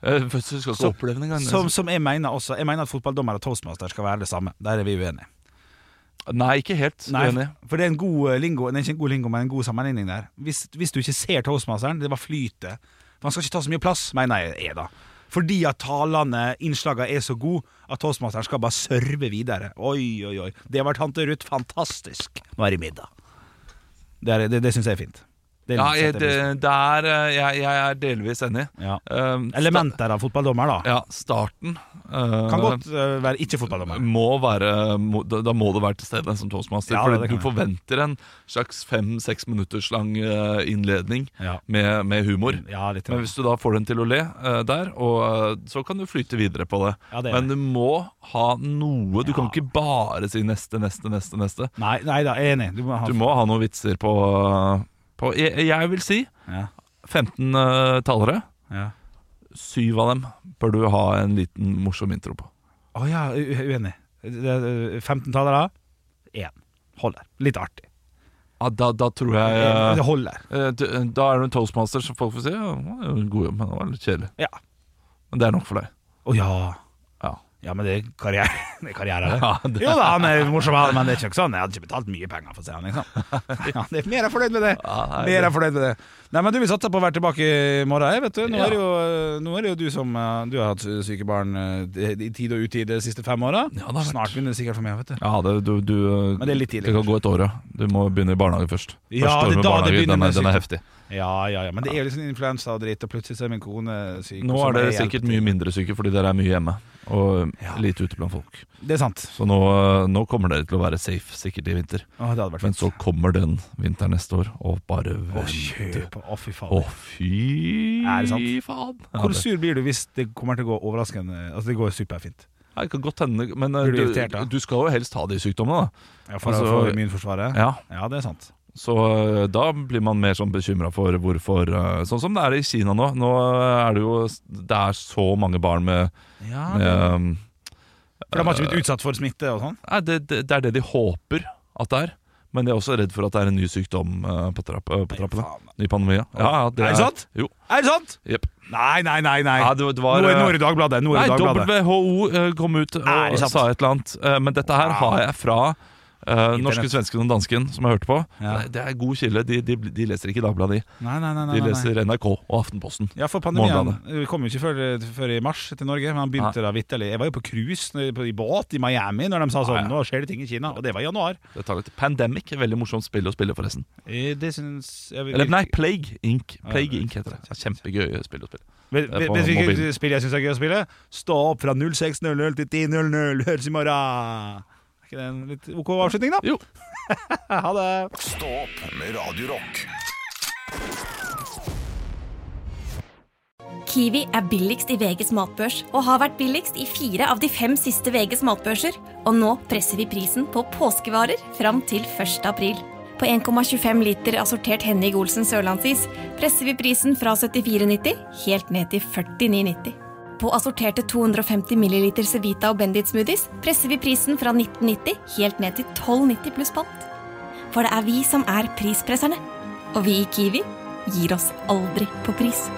Speaker 3: Eh, Fødsel
Speaker 2: Som-
Speaker 3: skal ikke oppleve den engang.
Speaker 2: Som, som jeg mener også. Jeg mener at fotballdommer og toastmaster skal være det samme. Der er vi uenige.
Speaker 3: Nei, ikke helt uenig.
Speaker 2: for det er en god eh, lingo, det er ikke en god lingo, men en god sammenligning der. Hvis, hvis du ikke ser toastmasteren, det var flytet. For han skal ikke ta så mye plass, mener jeg er da. Fordi at talene, innslagene er så gode at toastmasteren skal bare serve videre. Oi, oi, oi. Det var tante Ruth fantastisk. Nå er det middag. Det, er, det, det syns jeg er fint. Det er
Speaker 3: Ja,
Speaker 2: litt
Speaker 3: jeg,
Speaker 2: sett
Speaker 3: det,
Speaker 2: det
Speaker 3: det er, eh, jeg, jeg er delvis enig.
Speaker 2: blir- ja.
Speaker 3: Eh,
Speaker 2: Elementer av fotballdommer,
Speaker 3: sta-
Speaker 2: da.
Speaker 3: Ja, starten eh,
Speaker 2: Kan godt eh, være ikke fotballdommer.
Speaker 3: må være, må, da da må du være til stede som toastmaster.
Speaker 2: Ja, det
Speaker 3: for
Speaker 2: kan
Speaker 3: du
Speaker 2: jeg.
Speaker 3: forventer en slags fem-seks minutters lang eh, innledning
Speaker 2: Ja.
Speaker 3: med, med humor.
Speaker 2: Ja, litt
Speaker 3: Men hvis du da får den til å le eh, der, og eh, så kan du flyte videre på det.
Speaker 2: Ja, det er
Speaker 3: Men du må ha noe. Du kan ikke bare si neste, neste, neste, neste.
Speaker 2: Nei, nei da, jeg er enig. Du må ha
Speaker 3: Du må ha noen vitser på, på jeg, jeg vil si
Speaker 2: Ja,
Speaker 3: 15 eh, talere.
Speaker 2: ja.
Speaker 3: Syv av dem bør du ha en liten morsom intro på.
Speaker 2: Å ja, u- u- uenig. Det er 15 tallere. Én. Holder. Litt artig.
Speaker 3: Ja, da, da tror jeg
Speaker 2: Eh,
Speaker 3: eh,
Speaker 2: Det holder.
Speaker 3: eh, d- Da er du en toastmaster, så folk får si ja, det var en god jobb, men det var litt kjedelig.
Speaker 2: Ja.
Speaker 3: Men det er nok for deg.
Speaker 2: Å ja.
Speaker 3: Ja.
Speaker 2: Ja, men det er karriere, det er karriere det.
Speaker 3: Ja, det-
Speaker 2: Jo da, han er morsom, han, men det er ikke sånn. Jeg hadde ikke betalt mye penger for å se han, liksom. Ja, det er mer er fornøyd med det.
Speaker 3: Ja, nei,
Speaker 2: Mer er fornøyd med det. Nei, men du, vi satser på å være tilbake i morgen, jeg, vet du. Nå er det jo, nå er det jo du som eh, Du har hatt syke barn eh, i tid og utid de siste fem åra.
Speaker 3: Ja, det har vært-
Speaker 2: Snart begynner det sikkert for meg, vet du.
Speaker 3: Ja, det, du, du, eh,
Speaker 2: Men det er litt tidlig,
Speaker 3: kan gå et år, ja. Du må begynne i barnehage først.
Speaker 2: Ja, det er da
Speaker 3: Første år med
Speaker 2: det
Speaker 3: barnehage,
Speaker 2: begynner
Speaker 3: den,
Speaker 2: med
Speaker 3: er, den er
Speaker 2: sykdom.
Speaker 3: heftig.
Speaker 2: Ja, ja, ja, men det er jo litt sånn influensa og dritt, og plutselig så er min kone syk.
Speaker 3: Nå
Speaker 2: og så må
Speaker 3: er dere
Speaker 2: jeg hjelpe
Speaker 3: sikkert
Speaker 2: til.
Speaker 3: mye mindre syke fordi dere er mye hjemme og eh,
Speaker 2: Ja.
Speaker 3: lite ute blant folk.
Speaker 2: Det er sant.
Speaker 3: Så nå, eh, nå kommer dere til å være safe sikkert i vinter.
Speaker 2: Å, det hadde vært
Speaker 3: Men så kommer den vinteren neste år, og bare
Speaker 2: Å,
Speaker 3: vent.
Speaker 2: kjør på. Å, fy faen.
Speaker 3: Å, fy
Speaker 2: Er det sant?
Speaker 3: faen. Ja,
Speaker 2: Hvor
Speaker 3: det,
Speaker 2: sur blir du hvis det kommer til å gå overraskende Altså, det går superfint.
Speaker 3: Ja, det kan godt hende, men eh,
Speaker 2: Blir du
Speaker 3: du,
Speaker 2: irritert, da?
Speaker 3: du skal jo helst ha de sykdommene, da.
Speaker 2: Ja, for,
Speaker 3: Altså,
Speaker 2: for immunforsvaret?
Speaker 3: Ja.
Speaker 2: Ja, det er sant.
Speaker 3: Så eh, da blir man mer sånn bekymra for hvorfor eh, Sånn som det er i Kina nå. Nå eh, er det jo Det er så mange barn med, med eh,
Speaker 2: For de har ikke blitt utsatt for smitte og sånn?
Speaker 3: Nei, det, det, det er det de håper at det er. Men de er også redd for at det er en ny sykdom eh, på, trapp, eh, på trappene.
Speaker 2: faen.
Speaker 3: Ny pandemi. Ja. Ja, ja,
Speaker 2: Er det sant?
Speaker 3: Jo.
Speaker 2: Er det sant?!
Speaker 3: Jepp.
Speaker 2: Nei, nei, nei. nei.
Speaker 3: Ja, det, det var,
Speaker 2: nå er nå er
Speaker 3: eh,
Speaker 2: det Dagbladet. Nå er
Speaker 3: Nei,
Speaker 2: det Dagbladet.
Speaker 3: WHO eh, kom ut
Speaker 2: Er
Speaker 3: og
Speaker 2: det sant?
Speaker 3: sa et eller annet. Eh, men dette her har jeg fra eh, norske, svensken og dansken, som jeg hørte på.
Speaker 2: Ja.
Speaker 3: Nei, Det er god kilde. De, de, de leser ikke Dagbladet, de.
Speaker 2: Nei, nei, nei, nei,
Speaker 3: De
Speaker 2: nei, nei.
Speaker 3: leser NRK og Aftenposten.
Speaker 2: Ja, for pandemien
Speaker 3: Morgenbladet.
Speaker 2: eh, kom jo ikke før, før i mars til Norge, men han begynte da vitterlig. Jeg var jo på cruise eh, på- i båt i Miami når de sa
Speaker 3: Ja, ja.
Speaker 2: sånn Nå skjer det ting i Kina, og det var i januar.
Speaker 3: Det tar litt Pandemic. Veldig morsomt spill å spille, forresten.
Speaker 2: Eh, Det syns jeg vil-
Speaker 3: Eller nei, Plague Inc. Plague
Speaker 2: Ja,
Speaker 3: Inc heter det. Kjempegøy spill å spille.
Speaker 2: Vet
Speaker 3: Det er
Speaker 2: vet-
Speaker 3: på
Speaker 2: vet du hvilket
Speaker 3: mobilen.
Speaker 2: spill jeg syns er gøy å spille? Stå opp fra 06.00 til 10.00, høres i morgen! Er ikke det en litt OK avslutning, da?
Speaker 3: Jo.
Speaker 2: Ha det!
Speaker 1: Stå opp med Radio Rock.
Speaker 8: Kiwi er billigst i VGs matbørs og har vært billigst i fire av de fem siste VGs matbørser, og nå presser vi prisen på påskevarer fram til 1. april. På 1,25 liter assortert Henning Olsen sørlandsis presser vi prisen fra 74,90 helt ned til 49,90. På assorterte 250 ml Cevita og Bendit smoothies presser vi prisen fra 1990 helt ned til 12,90 pluss pant. For det er vi som er prispresserne. Og vi i Kiwi gir oss aldri på pris.